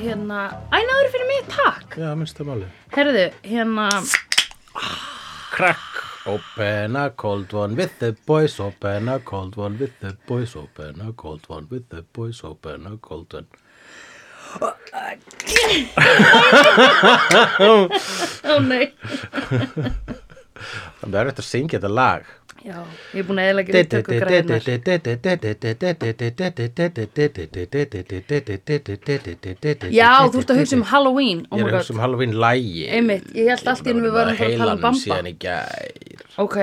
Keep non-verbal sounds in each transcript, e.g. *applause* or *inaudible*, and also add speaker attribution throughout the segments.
Speaker 1: hérna,
Speaker 2: minnsta máli
Speaker 1: Herðu, hérna,
Speaker 2: Crack Open a cold one with the boys Open a cold one with the boys Open a cold one with the boys Open a cold one
Speaker 1: ó nei
Speaker 2: Það er eftir að syngja þetta lag
Speaker 1: Já, ég er búin að eðla ekki við tökum græðinar Já,
Speaker 2: Já,
Speaker 1: þú ert að hugsa um Halloween oh
Speaker 2: Ég
Speaker 1: my
Speaker 2: er að hugsa
Speaker 1: god.
Speaker 2: um Halloween lægi
Speaker 1: Einmitt, ég hélt allt í einu við værum að fara að tala um Bamba.
Speaker 2: Heilanum síðan í gær
Speaker 1: Ok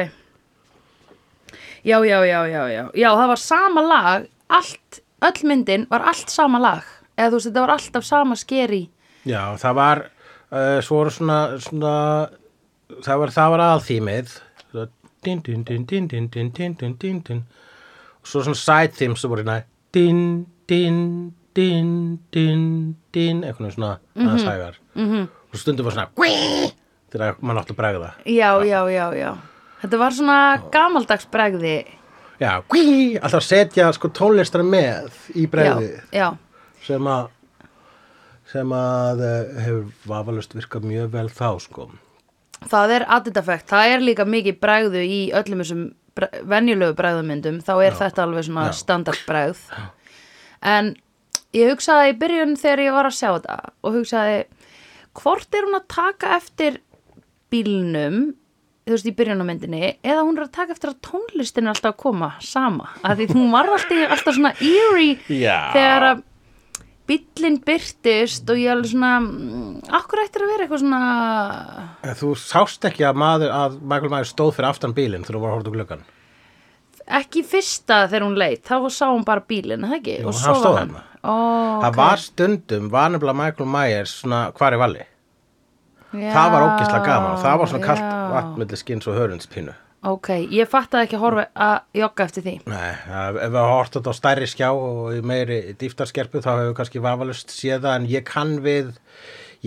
Speaker 1: Já, já, já, já, já Já, það var sama lag Allt, öll myndin var allt sama lag Eða þú veist, þetta var alltaf sama skeri
Speaker 2: Já, það var uh, svo voru svona, svona það var, það var aðþýmið din din din din din din din din din din og svo svona side themes sem voru hérna din din din din din einhvern veginn svona aðeins hægar -hmm. og stundum var svona "Gwí", þegar mann átti að bregða
Speaker 1: Já, já, já, já Þetta var svona gamaldags bregði
Speaker 2: Já, "Gwí", alltaf að setja sko tónlistar með í bregðið
Speaker 1: Já, já
Speaker 2: sem að sem að eh, hefur vafalust virkað mjög vel þá sko
Speaker 1: Það er additafekt, það er líka mikið bregðu í öllum þessum bre- venjulegu bregðumyndum, þá er þetta alveg svona
Speaker 2: Já.
Speaker 1: standardbregð. En ég hugsaði í byrjun þegar ég var að sjá þetta og hugsaði, hvort er hún að taka eftir bílnum, þú veist, í byrjun á myndinni, eða hún er að taka eftir að tónlistin er alltaf að koma sama. Af því hún var alltaf, alltaf svona eerie
Speaker 2: Já.
Speaker 1: þegar að bíllinn byrtist og ég alveg svona, "Mm, akkur ættir að vera eitthvað svona...
Speaker 2: En Eh, þú sást ekki að maður að Michael Myers stóð fyrir aftan bílinn þegar þú var að um horta glöggan
Speaker 1: ekki fyrsta þegar hún leit þá sá hún bara bílinn, það ekki?
Speaker 2: Jú,
Speaker 1: og
Speaker 2: hann
Speaker 1: svo
Speaker 2: stóð
Speaker 1: var hann
Speaker 2: þarna.
Speaker 1: Ó,
Speaker 2: Það var stundum, var nefnilega Michael Myers svona hvar í valli
Speaker 1: já,
Speaker 2: Það var ógislega gaman, það var svona kalt
Speaker 1: já.
Speaker 2: vatnmilli skins og hörundspínu
Speaker 1: ok, ég fattaði ekki að horfa að jogga eftir því
Speaker 2: Nei, það- ef við hortum þetta á stærri skjá og í meiri dýftarskerpu þá hefur kannski vafalust séð það en ég kann við,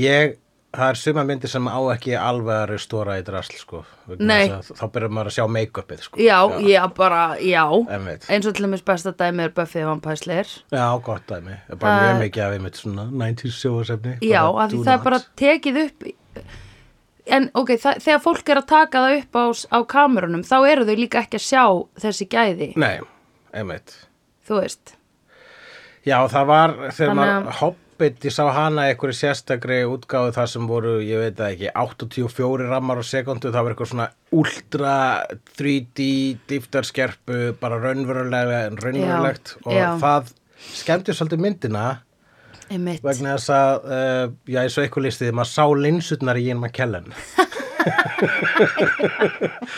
Speaker 2: ég, það er suma myndir sem á ekki alveg að restóra í drasl sko. vegna
Speaker 1: Nei.
Speaker 2: þess að Þá byrjar maður að sjá make-upið sko.
Speaker 1: já, já, bara, já
Speaker 2: Einmitt.
Speaker 1: eins og til dæmis besta dæmi er Buffy vampæslir
Speaker 2: Já, gott dæmi. Það er bara
Speaker 1: Það-
Speaker 2: mjög mikið af einmitt svona 90s sjóasefni.
Speaker 1: já, af því það er bara tekið upp en ok, það, þegar fólk er að taka það upp á, s- á kamerunum þá eru þau líka ekki að sjá þessi gæði
Speaker 2: Nei, einmitt.
Speaker 1: þú veist,
Speaker 2: Já, það var þegar
Speaker 1: Þannig
Speaker 2: maður
Speaker 1: að-
Speaker 2: Hobbit, ég sá hana í einhverju sérstakri útgáðu þar sem voru, ég veit það ekki, 84 rammar á sekundu, það var eitthvað svona ultra 3D dýftarskerpu, bara raunverulega en raunverulegt og
Speaker 1: já.
Speaker 2: það skemmti svolítið myndina
Speaker 1: einmitt
Speaker 2: vegna þess að, uh, já, eins og eitthvað listið, maður sá linsutnar í Ian McKellen. *laughs*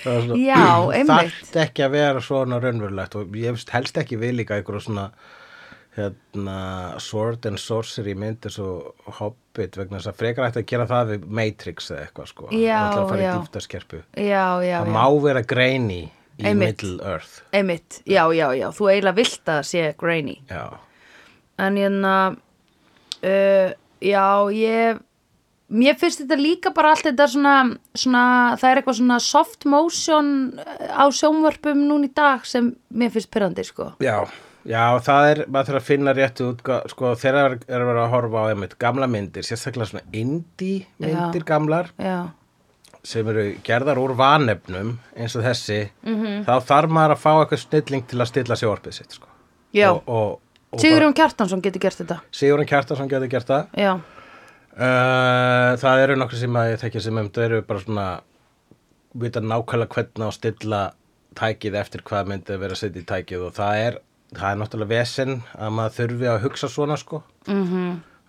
Speaker 2: Það var svona-
Speaker 1: já, einmitt
Speaker 2: *clears throat* þarft ekki að vera svona raunverulegt og ég veist helst ekki við líka einhverja svona hérna, sword and sorcery myndir svo hobbit vegna þess að frekar ætti að gera það við Matrix eða eitthvað sko
Speaker 1: Já,
Speaker 2: Það ætla að fara
Speaker 1: já.
Speaker 2: í dýftaskerpu
Speaker 1: já, já,
Speaker 2: það
Speaker 1: já
Speaker 2: má vera greini í
Speaker 1: Einmitt.
Speaker 2: Middle Earth
Speaker 1: Einmitt, já, já, já, þú eiginlega vilt að það sé grainy.
Speaker 2: já,
Speaker 1: En hérna, uh, já, ég, mér finnst þetta líka bara allt þetta svona, svona, það er eitthvað svona soft motion uh, á sjónvörpum núna í dag sem mér finnst pyrrandi, sko.
Speaker 2: já, já það er maður þarf að finna réttu út sko þegar er er að vera að horfa á einmitt gamla myndir sérstaklega svona indie myndir gamlar
Speaker 1: Já,
Speaker 2: sem eru gerðar úr vanefnum eins og þessi þá þarf maður að fá eitthvað snilling til að stilla sér orpið sitt sko.
Speaker 1: já,
Speaker 2: og, og, og
Speaker 1: Sigurjón Kjartansson getur gert þetta,
Speaker 2: Sigurinn Kjartarsson getur gert það
Speaker 1: já,
Speaker 2: uh, það eru nokkur sem að ég tekja sem um það eru bara svona vita nákvæmlega hvernig á að stilla tækið eftir hvað myndi að vera að setja í tækið og það er, það er náttúrulega vesen að maður þurfi að hugsa svona sko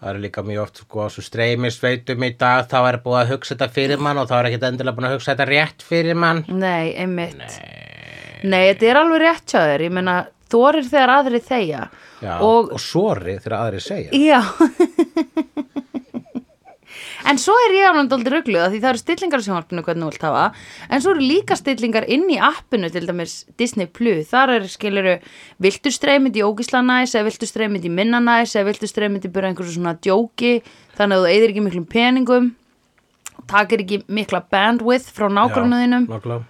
Speaker 2: Það eru líka mjög oft sko á svo streymisveitum í dag þá er búið að hugsa þetta fyrir mann og þá er ekkit endilega búin að hugsa þetta rétt fyrir mann
Speaker 1: nei, einmitt. Nei. þetta er alveg rétt hjá þér, ég meina, þorir þegar aðri þegja.
Speaker 2: Já,
Speaker 1: Og-
Speaker 2: og, sori þegar aðri segja
Speaker 1: Já *laughs* En svo er ég alveg dóldi rugluð að því það eru stillingar á sjónvarpinu hvernig þú vilt hafa en svo eru líka stillingar inn í appinu til dæmis Disney Plus þar er skiluru viltu streymið í ógisla næs eða viltu streymið í minna næs eða viltu streymið í byrja einhversu svona djóki þannig að þú eyðir ekki miklum peningum takir ekki mikla bandwidth frá nákvæmnaðinum
Speaker 2: nákvæmlega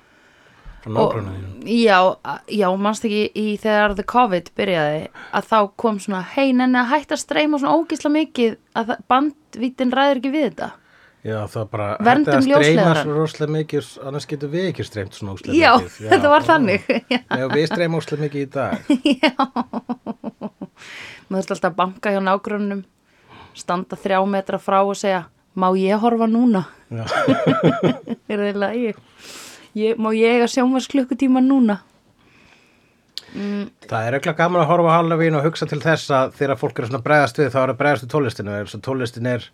Speaker 2: frá nágrunna þínu
Speaker 1: já, a- já, mannst ekki í þegar the COVID byrjaði að þá kom svona, hei, nenni að hætta að streyma svona ógisla mikið að það- bandvítin ræður ekki við þetta
Speaker 2: Já, það bara, hætti
Speaker 1: Verndum
Speaker 2: að streyma
Speaker 1: ljósleiðaran.
Speaker 2: svo rosalega mikið, annars getum við ekki streymt svona óslega
Speaker 1: já,
Speaker 2: mikið.
Speaker 1: *laughs* þetta var þannig
Speaker 2: Já, við streymum óslega mikið í dag.
Speaker 1: *laughs* maður þurfti alltaf að banka hjá nágrunum standa þrjá metra frá og segja má ég horfa núna *laughs*
Speaker 2: Já. *laughs*
Speaker 1: er það í lagi ég, má ég eiga sjónvars klukkutíma núna
Speaker 2: Það er auðvitað gaman að horfa á Halloween og hugsa til þess að þegar fólk er svona bregðast við þá er að bregðast við tólestinu eins og tólestin er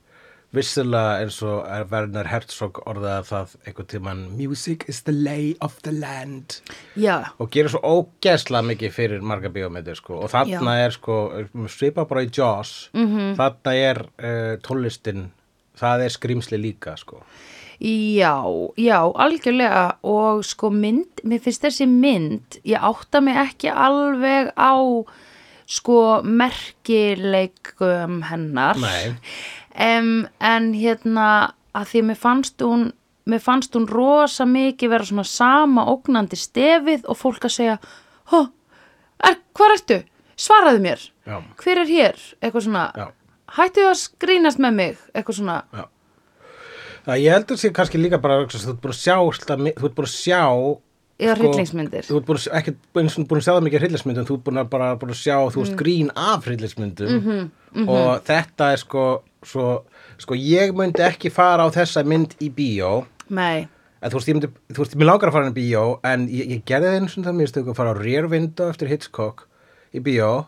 Speaker 2: vissilega eins og er Werner Herzog orðaði það einhvern tíman Music is the lay of the land
Speaker 1: já,
Speaker 2: og gerir svo ógeðslega mikið fyrir marga bíómyndir sko og þarna er sko, svipa bara í Jaws -hmm. þarna er uh, tólestin það er skrýmsli líka sko
Speaker 1: Já, já, algjörlega og sko mynd, mér finnst þessi mynd, ég átta mig ekki alveg á sko merkileikum hennar.
Speaker 2: Nei.
Speaker 1: Em, en hérna að því mér fannst hún, mér fannst hún rosa mikið vera svona sama ógnandi stefið og fólk að segja, hó, er, hvar ertu? Svaraðu mér.
Speaker 2: Já.
Speaker 1: Hver er hér? Eitthvað svona,
Speaker 2: Já.
Speaker 1: hættu að skrínast með mig, eitthvað svona.
Speaker 2: Það ég heldur sé kannski líka bara þú ert búin að sjá, alltaf mi- þú ert búin að sjá sko,
Speaker 1: Eða hryllingsmyndir.
Speaker 2: Þú ert búin að, sjá- ekki eins og búin að sjá það mikið hryllingsmyndum þú ert búin að bara búin að sjá, þú veist grín af hryllingsmyndum -hmm, og þetta er sko, svo, sko ég myndi ekki fara á þessa mynd í bíó
Speaker 1: Nei,
Speaker 2: en þú veist, ég myndi, þú veist, mér langar að fara í bíó en ég, ég gerði það einu svona mistök að fara á Rear Window eftir Hitchcock í bíó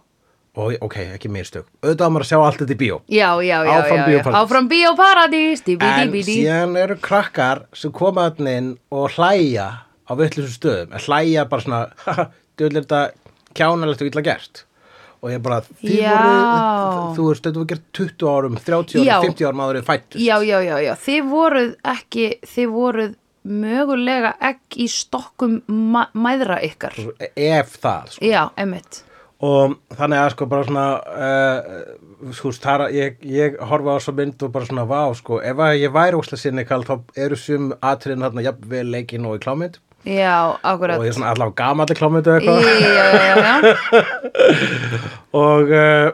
Speaker 2: og ok, ekki mistök auðvitað á maður að sjá allt þetta í bíó
Speaker 1: Já, já, já,
Speaker 2: Áfram
Speaker 1: já, já.
Speaker 2: Bíóparadís.
Speaker 1: áfram bíóparadís,
Speaker 2: En
Speaker 1: dibidibidi,
Speaker 2: síðan eru krakkar sem koma þarna inn og hlæja á vittlisum stöðum. En hlæja bara svona, haha, djöðlega þetta kjánalegt og illa gert. Og ég bara, þið
Speaker 1: Já.
Speaker 2: voru, þú veist, þetta var gert 20 árum, 30
Speaker 1: Já.
Speaker 2: árum, 50 árum áður en þið fættust.
Speaker 1: já, já, já, já, þið voruð ekki, þið voruð mögulega ekki í stokkum ma mæðra ykkar,
Speaker 2: Mhm. Ef það, sko.
Speaker 1: já, emitt,
Speaker 2: Og þannig að sko bara svona, uh, sko, þar, ég, ég horfa á svo mynd og bara svona, vá, sko, ef að ég væri óslega sinni kall, þá eru sum atriðin þarna jafnvel leikin og í klámynd.
Speaker 1: já, akkurat,
Speaker 2: Og ég er svona allavega gamalli klámynd eða
Speaker 1: já,
Speaker 2: eitthvað.
Speaker 1: já, já, já,
Speaker 2: og uh,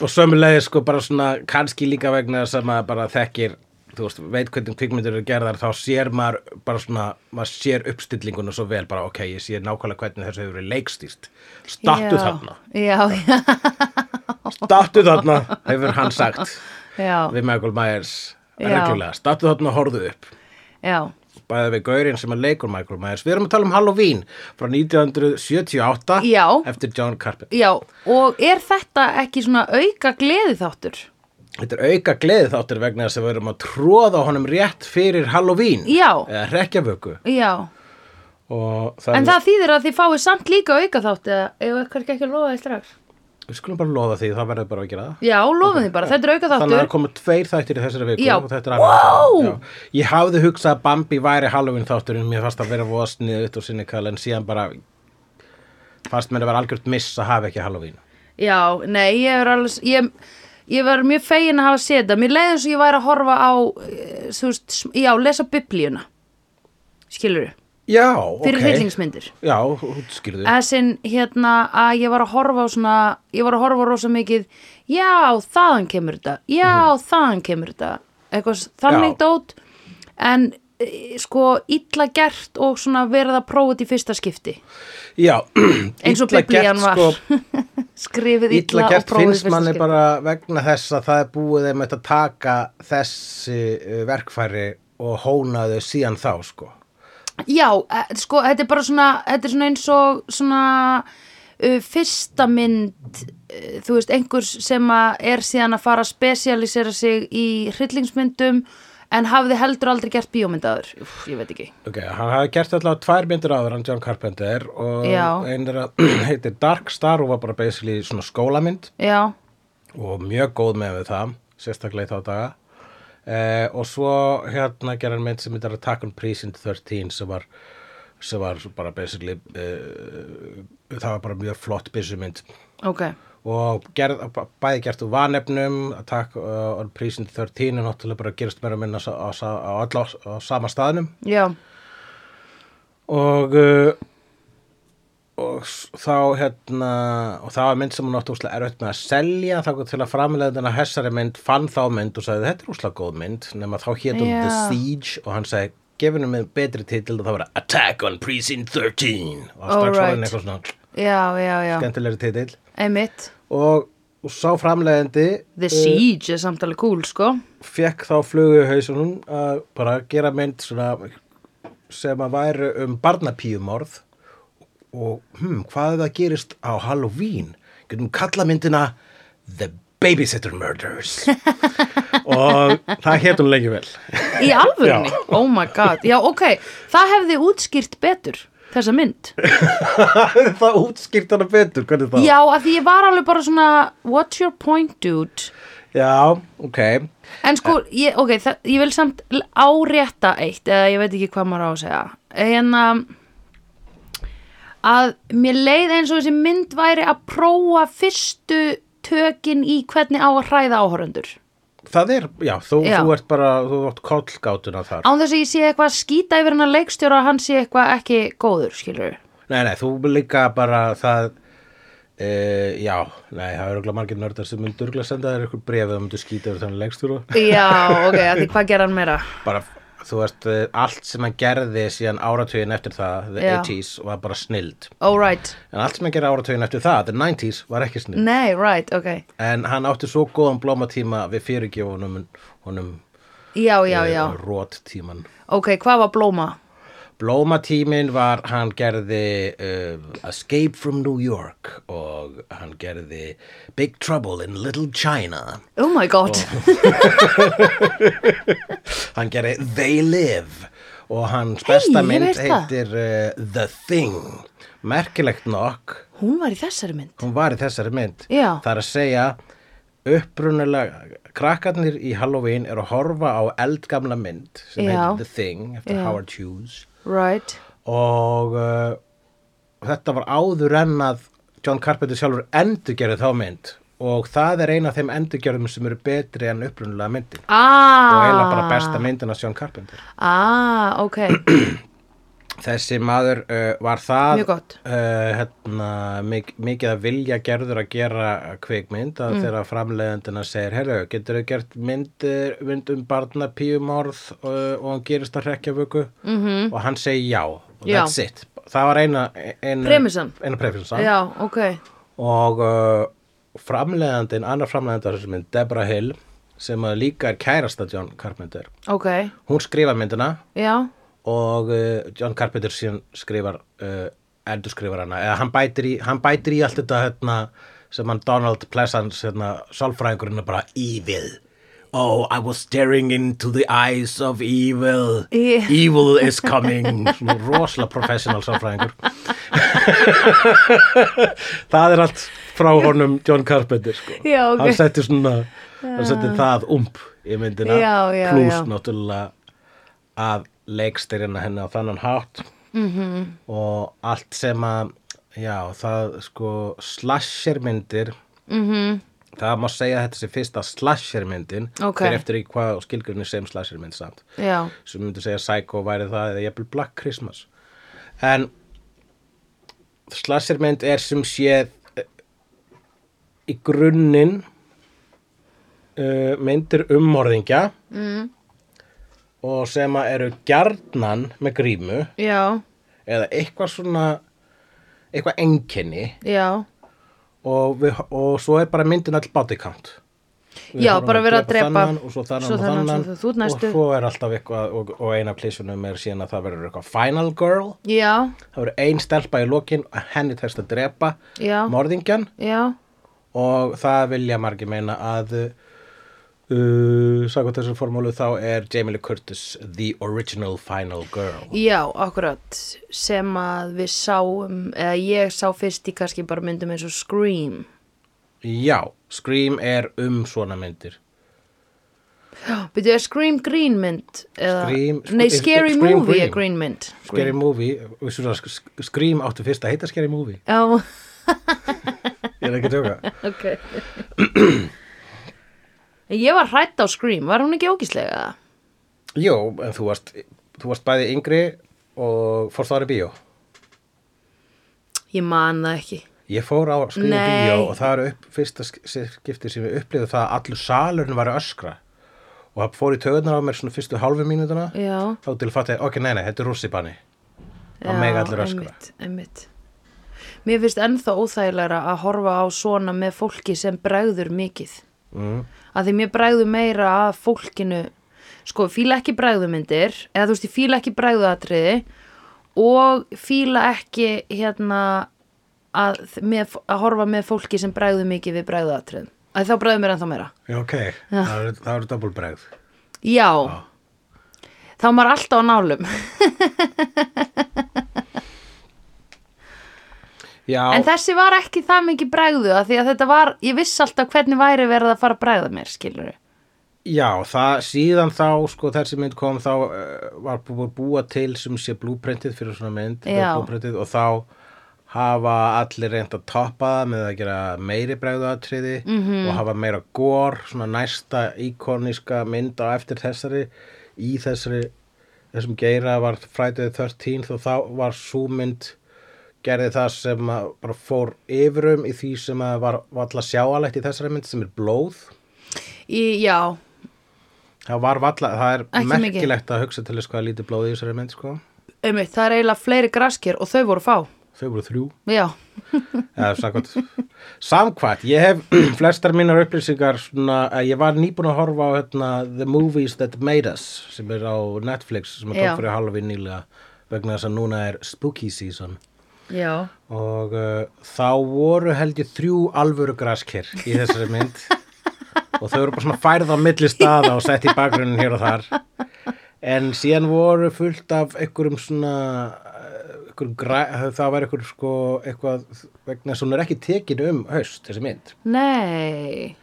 Speaker 2: og sömulegis sko bara svona kannski líka vegna þess að maður bara þekkir þú veist, veit hvernig kvikmyndir eru gerðar þá sér maður bara svona maður sér uppstillingunum svo vel bara ok, ég sé nákvæmlega hvernig þessu hefur verið leikstýrt stattu þarna,
Speaker 1: já, já,
Speaker 2: stattu þarna hefur hann sagt
Speaker 1: já,
Speaker 2: við Michael Myers
Speaker 1: Já.
Speaker 2: reglulega, stattu þarna og horfðu upp
Speaker 1: já,
Speaker 2: bæði við gaurinn sem að leikur Michael Myers við erum að tala um Halloween frá 1978
Speaker 1: Já.
Speaker 2: eftir John Carpenter
Speaker 1: já, og er þetta ekki svona auka gleði þáttur?
Speaker 2: Þetta er auka gleði þáttur vegna þess að við erum að tróða honum rétt fyrir Halloween
Speaker 1: Já.
Speaker 2: eða rekjavöku
Speaker 1: Já,
Speaker 2: og
Speaker 1: en
Speaker 2: þannig,
Speaker 1: það þýðir að þið fáið samt líka auka þátt eða ef eitthvað ekki að lofa því strax.
Speaker 2: við skulum bara loða því það verður bara að gera það
Speaker 1: Já, lofum því bara, þetta er auka
Speaker 2: Þannig að það
Speaker 1: þáttur.
Speaker 2: koma tveir þættir í þessari viku
Speaker 1: Já.
Speaker 2: og þetta er annar
Speaker 1: Wow!
Speaker 2: þáttur. Já. Ég hafði hugsað að Bambi væri Halloween þáttur en mér fannst að vera voða sniðut og sinnikal en síðan bara fannst mér að vera algjört miss að hafa ekki Halloween
Speaker 1: Já, nei, ég er alveg, ég, ég var mjög fegin að hafa séð þetta. Mér leiði eins og ég væri að horfa á, eh, þú veist, sm- já, lesa biblíuna, skilur du,
Speaker 2: Já,
Speaker 1: fyrir
Speaker 2: ok
Speaker 1: okay. hryllingsmyndir.
Speaker 2: Já, útskýrðu
Speaker 1: Þessin, hérna, að ég var að horfa á svona, ég var að horfa á rosa mikið, já, þaðan kemur þetta, já,
Speaker 2: Mhm.
Speaker 1: þaðan kemur þetta, eitthvað s- þannig
Speaker 2: Já.
Speaker 1: dót, en eh, sko, illa gert og svona verið að prófa þetta í fyrsta skipti,
Speaker 2: Já,
Speaker 1: *clears throat* eins og
Speaker 2: illa gert,
Speaker 1: biblían var,
Speaker 2: sko,
Speaker 1: *laughs* skrifið illa,
Speaker 2: illa
Speaker 1: og
Speaker 2: gert
Speaker 1: prófið í
Speaker 2: finnst
Speaker 1: fyrsta
Speaker 2: manni
Speaker 1: skipti.
Speaker 2: bara vegna þess að það er búið þeim að taka þessi eh, verkfæri og hóna þau síðan þá sko.
Speaker 1: Já, eh, sko, þetta er bara svona, þetta er svona eins og svona uh, fyrsta mynd, uh, þú veist, einhvers sem að er síðan að fara að spesialisera sig í hryllingsmyndum en hafði heldur aldrei gert bíómyndaður, Úff, ég veit ekki.
Speaker 2: Ok, hann hafði gert allavega tvær myndir áður hann John Carpenter og
Speaker 1: Já.
Speaker 2: einn er að *clears throat* heitir Dark Star og var bara basically svona skólamynd
Speaker 1: Já,
Speaker 2: og mjög góð með við það, sérstaklega í þá daga. Eh, og svo hérna gerði hann mynd sem heitir Attack on Precinct 13 sem var, sem var bara basically, eh, það var bara mjög flott byssumynd.
Speaker 1: ok,
Speaker 2: og gerð, bæði gert úr vanefnum Attack uh, on Prison 13 er náttúrulega bara gerist meira að minna á, á, á, á, alla- á sama staðnum
Speaker 1: já,
Speaker 2: og uh, og s- þá hérna og það var mynd sem hún átti úslega erfitt með að selja þá til að framlega þennan hessari mynd fann þá mynd og sagði þetta er úslega góð mynd nema þá hét hún The
Speaker 1: Já.
Speaker 2: Siege og hann sagði gefinu mig betri titil og það var Attack on Precinct 13 og strax var
Speaker 1: Alright.
Speaker 2: hann eitthvað svona
Speaker 1: já, já, já,
Speaker 2: skemmtilegri titil
Speaker 1: einmitt
Speaker 2: og, og sá framlegandi
Speaker 1: The Siege er samtalið kúl, sko
Speaker 2: fekk þá flugu í hausunum að bara gera mynd svona sem að væri um barnapíumorð og hmm, hvað ef það gerist á Halloween getum kalla myndina The Babysitter Murders
Speaker 1: *laughs*
Speaker 2: og það hétt hún lengi vel *laughs*
Speaker 1: Í alvörunni?
Speaker 2: Já.
Speaker 1: Oh my god, já, ok Það hefði útskýrt betur, þessa mynd
Speaker 2: það útskýrt hana betur hvernig það
Speaker 1: Já, að því ég var alveg bara svona What's your point, dude?
Speaker 2: Já, ok
Speaker 1: En sko, ég, ok, það, ég vil samt l- árétta eitt, eða ég veit ekki hvað maður á að segja. En um, að mér leið eins og þessi mynd væri að prófa fyrstu tökin í hvernig á að hræða áhorundur.
Speaker 2: það er, já, þú,
Speaker 1: Já.
Speaker 2: þú ert bara þú átt kollgátuna þar
Speaker 1: Án þess að ég sé eitthvað að skýta yfir hennar leikstjóra að hann sé eitthvað ekki góður, skilur.
Speaker 2: Nei, nei, þú líka bara það e, Já, nei, það eru örugglega margir nördar sem myndu örgulega senda þér ykkur brefið og myndu skýta yfir þannig lengstur og
Speaker 1: Já, ok, að því hvað gera hann meira?
Speaker 2: bara, þú veist, eh, allt sem hann gerði síðan áratugin eftir það, the
Speaker 1: Já.
Speaker 2: 80s var bara snild,
Speaker 1: Oh, right.
Speaker 2: en allt sem hann gerði áratugin eftir það, the 90s, var ekki snild
Speaker 1: Nei, right, ok.
Speaker 2: en hann átti svo góðan blómatíma við fyrirgjóðunum honum e,
Speaker 1: Já, já, já.
Speaker 2: róttíman
Speaker 1: Ok, hvað var blóma?
Speaker 2: Blómatíminn var, hann gerði um, Escape from New York og hann gerði Big Trouble in Little China.
Speaker 1: Oh my god.
Speaker 2: Hann gerði They Live og hans besta
Speaker 1: ég
Speaker 2: mynd
Speaker 1: veit það.
Speaker 2: heitir uh, The Thing. Merkilegt nokk,
Speaker 1: Hún var í þessari mynd.
Speaker 2: hún var í þessari mynd.
Speaker 1: Já.
Speaker 2: Það er að segja, upprunalega, krakkarnir í Halloween eru að horfa á eldgamla mynd sem
Speaker 1: Já.
Speaker 2: heitir The Thing eftir
Speaker 1: Já.
Speaker 2: Howard Hughes.
Speaker 1: Right.
Speaker 2: og uh, þetta var áður en að John Carpenter sjálfur endurgerði þá mynd og það er eina af þeim endurgerðum sem eru betri en upprunulega myndin
Speaker 1: Ah,
Speaker 2: og eiginlega bara besta myndin af John Carpenter
Speaker 1: Ah, ok,
Speaker 2: þessi maður uh, var það
Speaker 1: Mjög gott.
Speaker 2: uh, hérna, mik mikið að vilja gerður að gera kvikmynd að
Speaker 1: Mm.
Speaker 2: þegar framleiðendina segir herru, getur þau gert mynd, mynd um barna píumorð uh, og hann gerist að rekja vöku mm -hmm. og hann segi já og
Speaker 1: Mhm. Já.
Speaker 2: that's it það var eina, eina
Speaker 1: Premissan.
Speaker 2: eina premissan
Speaker 1: já, ok
Speaker 2: og uh, framleiðandin, annar framleiðandar sem mynd Deborah Hill sem að líka er kærasta John Carpenter
Speaker 1: Ok,
Speaker 2: hún skrifa myndina
Speaker 1: já,
Speaker 2: og uh, John Carpenter síðan skrifar uh, endurskrifar hana eða hann bætir í, hann bætir í allt þetta hérna, sem hann Donald Pleasance hérna, sálfræðingurinn er bara evil Oh, I was staring into the eyes of evil
Speaker 1: Í-
Speaker 2: Evil is coming Svona rosalega professional sálfræðingur *laughs* Það er allt frá honum John Carpenter sko.
Speaker 1: Já, ok.
Speaker 2: Hann setti svona Hann setti það ump í myndina
Speaker 1: Já, já,
Speaker 2: Plús
Speaker 1: já.
Speaker 2: náttúrulega að leikstyrina henni á þannan hátt
Speaker 1: Mhm.
Speaker 2: -hmm. og allt sem að já, það sko slashermyndir mm
Speaker 1: Mhm.
Speaker 2: -hmm. það má segja að þetta sé fyrsta slashermyndin
Speaker 1: Ok.
Speaker 2: fyrir eftir í hvað skilgrunni sem slashermynd samt
Speaker 1: já,
Speaker 2: sem myndi segja Psycho væri það eða jafnvel Black Christmas en slashermynd er sem sé eh, í grunninn uh, myndir ummorðingja mm. og sem að eru gjarnan með grímu
Speaker 1: já,
Speaker 2: eða eitthvað svona eitthvað enkenni
Speaker 1: já
Speaker 2: og, við, og svo er bara myndin all body count Við
Speaker 1: Já,
Speaker 2: horfum
Speaker 1: bara verið að drepa
Speaker 2: þennan og svo þannan
Speaker 1: svo
Speaker 2: og
Speaker 1: þennan,
Speaker 2: þannan
Speaker 1: svo þú- þú næstu.
Speaker 2: og svo er alltaf eitthvað og, og eina plísunum er síðan að það verður eitthvað final girl
Speaker 1: Já,
Speaker 2: það verður ein stelpa í lokin og henni tekst að drepa
Speaker 1: Já.
Speaker 2: morðingjan
Speaker 1: já,
Speaker 2: og það vilja margir meina að uh, sagði þessar formúlu þá er Jamie Lee Curtis the original final girl
Speaker 1: já, akkurat sem að við sáum eða ég sá fyrst í kannski bara myndum eins og Scream
Speaker 2: já, Scream er um svona myndir
Speaker 1: Byrju, er Scream green mynd? Eða,
Speaker 2: Scream-
Speaker 1: Nei,
Speaker 2: Sc-
Speaker 1: Scary
Speaker 2: Scream
Speaker 1: Movie
Speaker 2: green.
Speaker 1: er green mynd
Speaker 2: Scary Movie, vissu það, Sk- Scream áttu fyrst að heita Scary Movie
Speaker 1: Já, *laughs*
Speaker 2: ég er ekki að tjóka *clears throat*
Speaker 1: ok En Ég var hrætt á Scream, var hún ekki ógislega?
Speaker 2: Jó, en þú varst, þú varst bæði yngri og fórst það í bíó
Speaker 1: Ég man það ekki.
Speaker 2: Ég fór á skrifa
Speaker 1: Nei.
Speaker 2: bíó og það er upp, fyrsta sk- skipti sem ég upplifði það að allur salurinn var að öskra og það fór í töðunar á mér svona fyrstu hálfu mínútuna
Speaker 1: Já.
Speaker 2: þá til að fatta, ok, nei, nei, þetta er rússipanni
Speaker 1: Já,
Speaker 2: það mega allir öskra
Speaker 1: Einmitt, einmitt. Mér finnst ennþá óþægilegra að horfa á svona með fólki sem bregður mikið.
Speaker 2: mm.
Speaker 1: Að því mér bregður meira að fólkinu, sko, fíla ekki bregðumyndir, eða þú veist, ég fíla ekki bregðuatriði og fíla ekki, hérna, að, með, að horfa með fólki sem bregður mikið við bregðuatriðum. Að þá bregður mér ennþá meira.
Speaker 2: Já, ok, það eru- það eru doppelbregð
Speaker 1: Já. Þá er maður alltaf á nálum.
Speaker 2: Já,
Speaker 1: En þessi var ekki það mikið bregðu að því að þetta var, ég vissi alltaf hvernig væri verið að fara að bregða mér, skilur
Speaker 2: Já, það síðan þá, sko, þessi mynd kom þá uh, var búið að búa til sem sé blúprintið fyrir svona mynd
Speaker 1: Já.
Speaker 2: blúprintið, og þá hafa allir reynd að toppa það með að gera meiri bregðuatriði -hmm. og hafa meira gór, svona næsta íkoníska mynd á eftir þessari í þessari þessum geira var Friday the 13th og þá var sú mynd gerði það sem að bara fór yfirum í því sem að var, var alltaf sjáalegt í þessari mynd sem er blóð
Speaker 1: Í, já,
Speaker 2: Það var valla, það er
Speaker 1: Ekki mikið.
Speaker 2: merkilegt að hugsa til þess hvað er lítið blóði í þessari mynd, sko.
Speaker 1: einmitt, það er eiginlega fleiri graskir og þau voru fá,
Speaker 2: Þau voru þrjú,
Speaker 1: já,
Speaker 2: eða samkvæmt. samkvæmt, ég hef *clears throat* flestar mínar upplýsingar svona, að ég var nýbúin að horfa á hérna, The Movies That Made Us, sem er á Netflix, sem að
Speaker 1: Já.
Speaker 2: tók fyrir halvi nýlega, vegna þess að núna er Spooky Season.
Speaker 1: já,
Speaker 2: Og uh, þá voru held ég þrjú alvöru graskir í þessari
Speaker 1: *laughs*
Speaker 2: mynd og þau voru bara svona færð á milli staða og sett í bakgrunin hér og þar. En síðan voru fullt af einhverjum svona, eh, einhverjum græ, það var einhver sko, eitthvað vegna sem hún er ekki tekin um haust, þessi mynd.
Speaker 1: nei,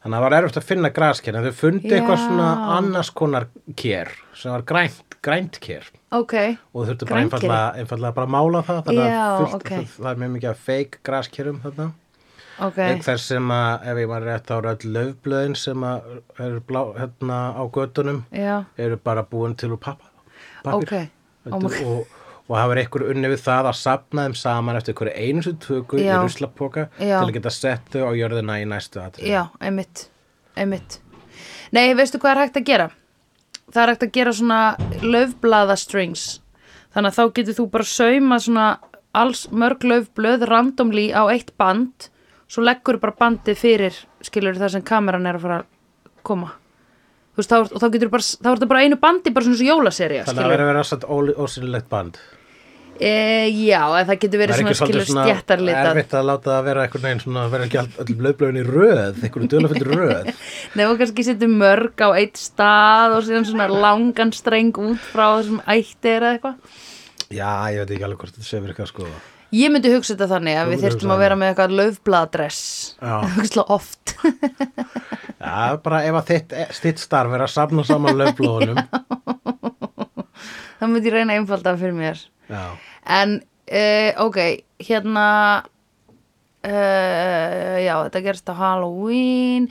Speaker 2: Þannig að það var erfitt að finna graskir, en þau fundi eitthvað
Speaker 1: Já.
Speaker 2: svona annars konar kér, sem var grænt, grænt kér
Speaker 1: ok,
Speaker 2: og þurftu bara
Speaker 1: Grænkeru.
Speaker 2: einfallega, einfallega bara að mála það þannig
Speaker 1: Já,
Speaker 2: að fullt,
Speaker 1: ok.
Speaker 2: það er mjög mikið af fake graskerum þarna
Speaker 1: ok,
Speaker 2: okay. þess sem að ef ég var rétt þá eru öll löfblöðin sem að eru blá, hérna, á göttunum
Speaker 1: já,
Speaker 2: eru bara búin til úr pappa
Speaker 1: ok, oh my
Speaker 2: og, og hafa einhver unni við það að sapna þeim saman eftir einhverju einu sem tökur í
Speaker 1: Já.
Speaker 2: ruslapoka til
Speaker 1: Já.
Speaker 2: að geta sett þau á jörðina í næstu atrið
Speaker 1: já, einmitt, einmitt. Nei, veistu hvað er hægt að gera? Það er hægt að gera svona löfblaða strings, þannig að þá getur þú bara sauma svona alls mörg löfblöð randomly á eitt band, svo leggur bara bandið fyrir, skilur það sem kameran er að fara að koma. Þú veist, þá, ert- og þá getur bara, þá er þetta bara einu bandi, bara svona eins og jólaserja,
Speaker 2: þannig að
Speaker 1: skilur.
Speaker 2: vera að vera satt óli- ósýnilegt band
Speaker 1: E, já, en það getur verið svona, skilur, stjættarlitað.
Speaker 2: erfitt að láta það vera einhvern veginn svona vera ekki all- öll löfblöðin í röð einhvern duðlafinn
Speaker 1: *laughs*
Speaker 2: röð
Speaker 1: Nei, og kannski setjum mörg á eitt stað og síðan svona langan streng út frá þessum ætti er eða eitthvað.
Speaker 2: Já, ég veit ekki alveg hvort þetta sé verið eitthvað sko.
Speaker 1: Ég myndi hugsa þetta þannig
Speaker 2: Þú
Speaker 1: að við
Speaker 2: myndir
Speaker 1: þyrftum
Speaker 2: hugsa
Speaker 1: að vera með eitthvað löfbladress *laughs*
Speaker 2: Já.
Speaker 1: Hugslega oft *laughs*
Speaker 2: Já, bara ef að þitt, þitt starf er að safna saman löfblóðunum.
Speaker 1: Það myndi ég reyna að einfalda það fyrir mér
Speaker 2: Já.
Speaker 1: En, uh, ok, hérna uh, Já, þetta gerst á Halloween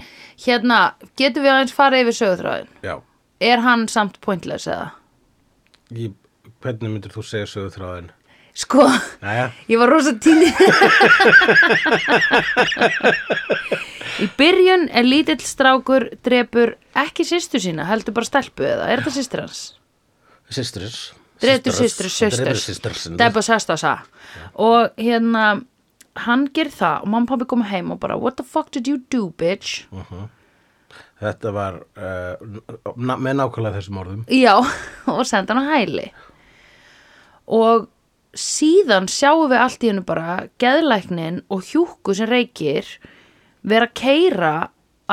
Speaker 1: Hérna, getum við aðeins farið yfir sögutráðin?
Speaker 2: Já.
Speaker 1: Er hann samt pointless eða?
Speaker 2: Ég, hvernig myndir þú segja sögu þráðin?
Speaker 1: Sko,
Speaker 2: Jæja.
Speaker 1: Ég var rosa tíni Í byrjun er lítill strákur drepur ekki sýstu sína, heldur bara stelpu eða, er þetta sýstur hans?
Speaker 2: Sisters.
Speaker 1: Drepur sýstur,
Speaker 2: Drefur
Speaker 1: sýstur,
Speaker 2: sisters.
Speaker 1: debba sest á sa og hérna hann ger það og mamma og pabbi koma heim og bara what the fuck did you do bitch?
Speaker 2: Þetta var uh, na, með nákvæmlega þessum orðum.
Speaker 1: Já, *laughs* og senda hann á hæli og síðan sjáum við allt í hennu bara geðlæknin og hjúku sem reykir vera að keira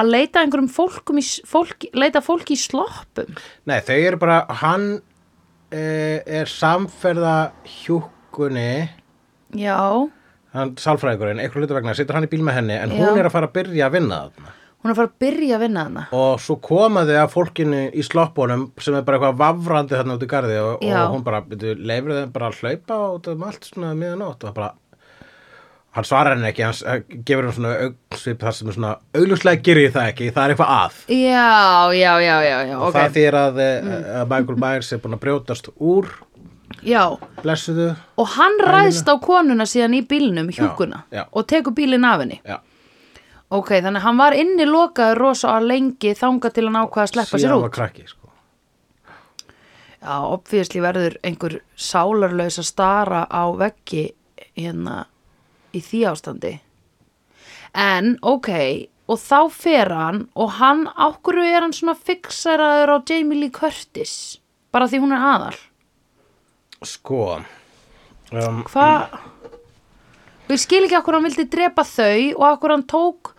Speaker 1: að leita að einhverjum fólkum í, fólk, leita að fólki í sloppum
Speaker 2: Nei, þau eru bara, hann uh, er samferða hjúkunni,
Speaker 1: Já, hún
Speaker 2: hann sálfræðingurinn, einhver hluta vegna, situr hann í bíl með henni, en
Speaker 1: Já.
Speaker 2: hún er að fara að byrja að vinna þarna.
Speaker 1: er að fara að byrja að vinna hana
Speaker 2: og svo koma þau að fólkinu í sloppunum sem er bara eitthvað vafrandi þarna út í garði og,
Speaker 1: Já.
Speaker 2: og hún bara leifir þeim bara að hlaupa út um allt svona miðanótt og það bara hann svarar henni ekki, hann s- gefur henni svona augsvip þar sem er svona augljóslega gerir ég það ekki, það er eitthvað að
Speaker 1: Já, já, já, já, já,
Speaker 2: og
Speaker 1: ok Mm.
Speaker 2: það þýr að, eh, að Michael Myers er búin að brjótast úr
Speaker 1: já,
Speaker 2: blessuðu
Speaker 1: og hann ræðst á konuna síðan í bílnum, hjúkuna
Speaker 2: Já, já.
Speaker 1: og tekur bílinn af henni
Speaker 2: já,
Speaker 1: ok, þannig að hann var inni lokaður rosa lengi þanga til hann ákvaða að sleppa sér
Speaker 2: síðan var
Speaker 1: út
Speaker 2: krakki sko.
Speaker 1: já, obvíðsli verður einhver sálarlaus að stara á veggi hérna í því ástandi en ok, og þá fer hann og hann, ákveðu er hann svona fixeraður á Jamie Lee Curtis bara því hún er aðal
Speaker 2: sko um,
Speaker 1: Hvað? Við skil ekki okkur hann vildi drepa þau og okkur hann tók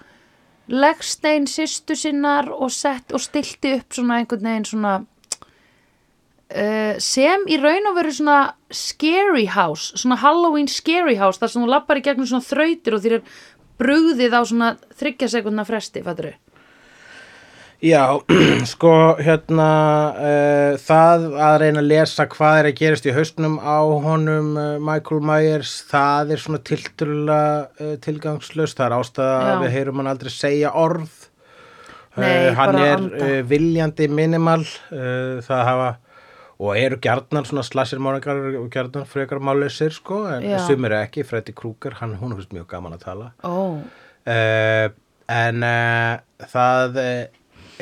Speaker 1: leggstein sýstu sinnar og sett og stilti upp svona einhvern veginn svona uh, sem í raun og veru svona scary house, svona Halloween scary house þar sem þú lappar í gegnum svona þrautir og þér er brugðið á svona þryggja sekundna fresti, fattur þau?
Speaker 2: Já, *clears throat* sko, hérna, uh, það að reyna að lesa hvað er að gerast í hausnum á honum uh, Michael Myers, það er svona tilturlega uh, tilgangslust, það er ástæða
Speaker 1: Já.
Speaker 2: að við heyrum hann aldrei segja orð.
Speaker 1: Nei,
Speaker 2: hann
Speaker 1: bara
Speaker 2: er
Speaker 1: anda.
Speaker 2: uh, viljandi minimal, uh, það hafa, og eru gjarnan svona slasir mánakar og gjarnan frekar málausir, sko, en
Speaker 1: Já.
Speaker 2: sumir eru ekki, Freddy Krueger, hann, hún finnst mjög gaman að tala.
Speaker 1: Ó,
Speaker 2: Eh, en uh, það eh,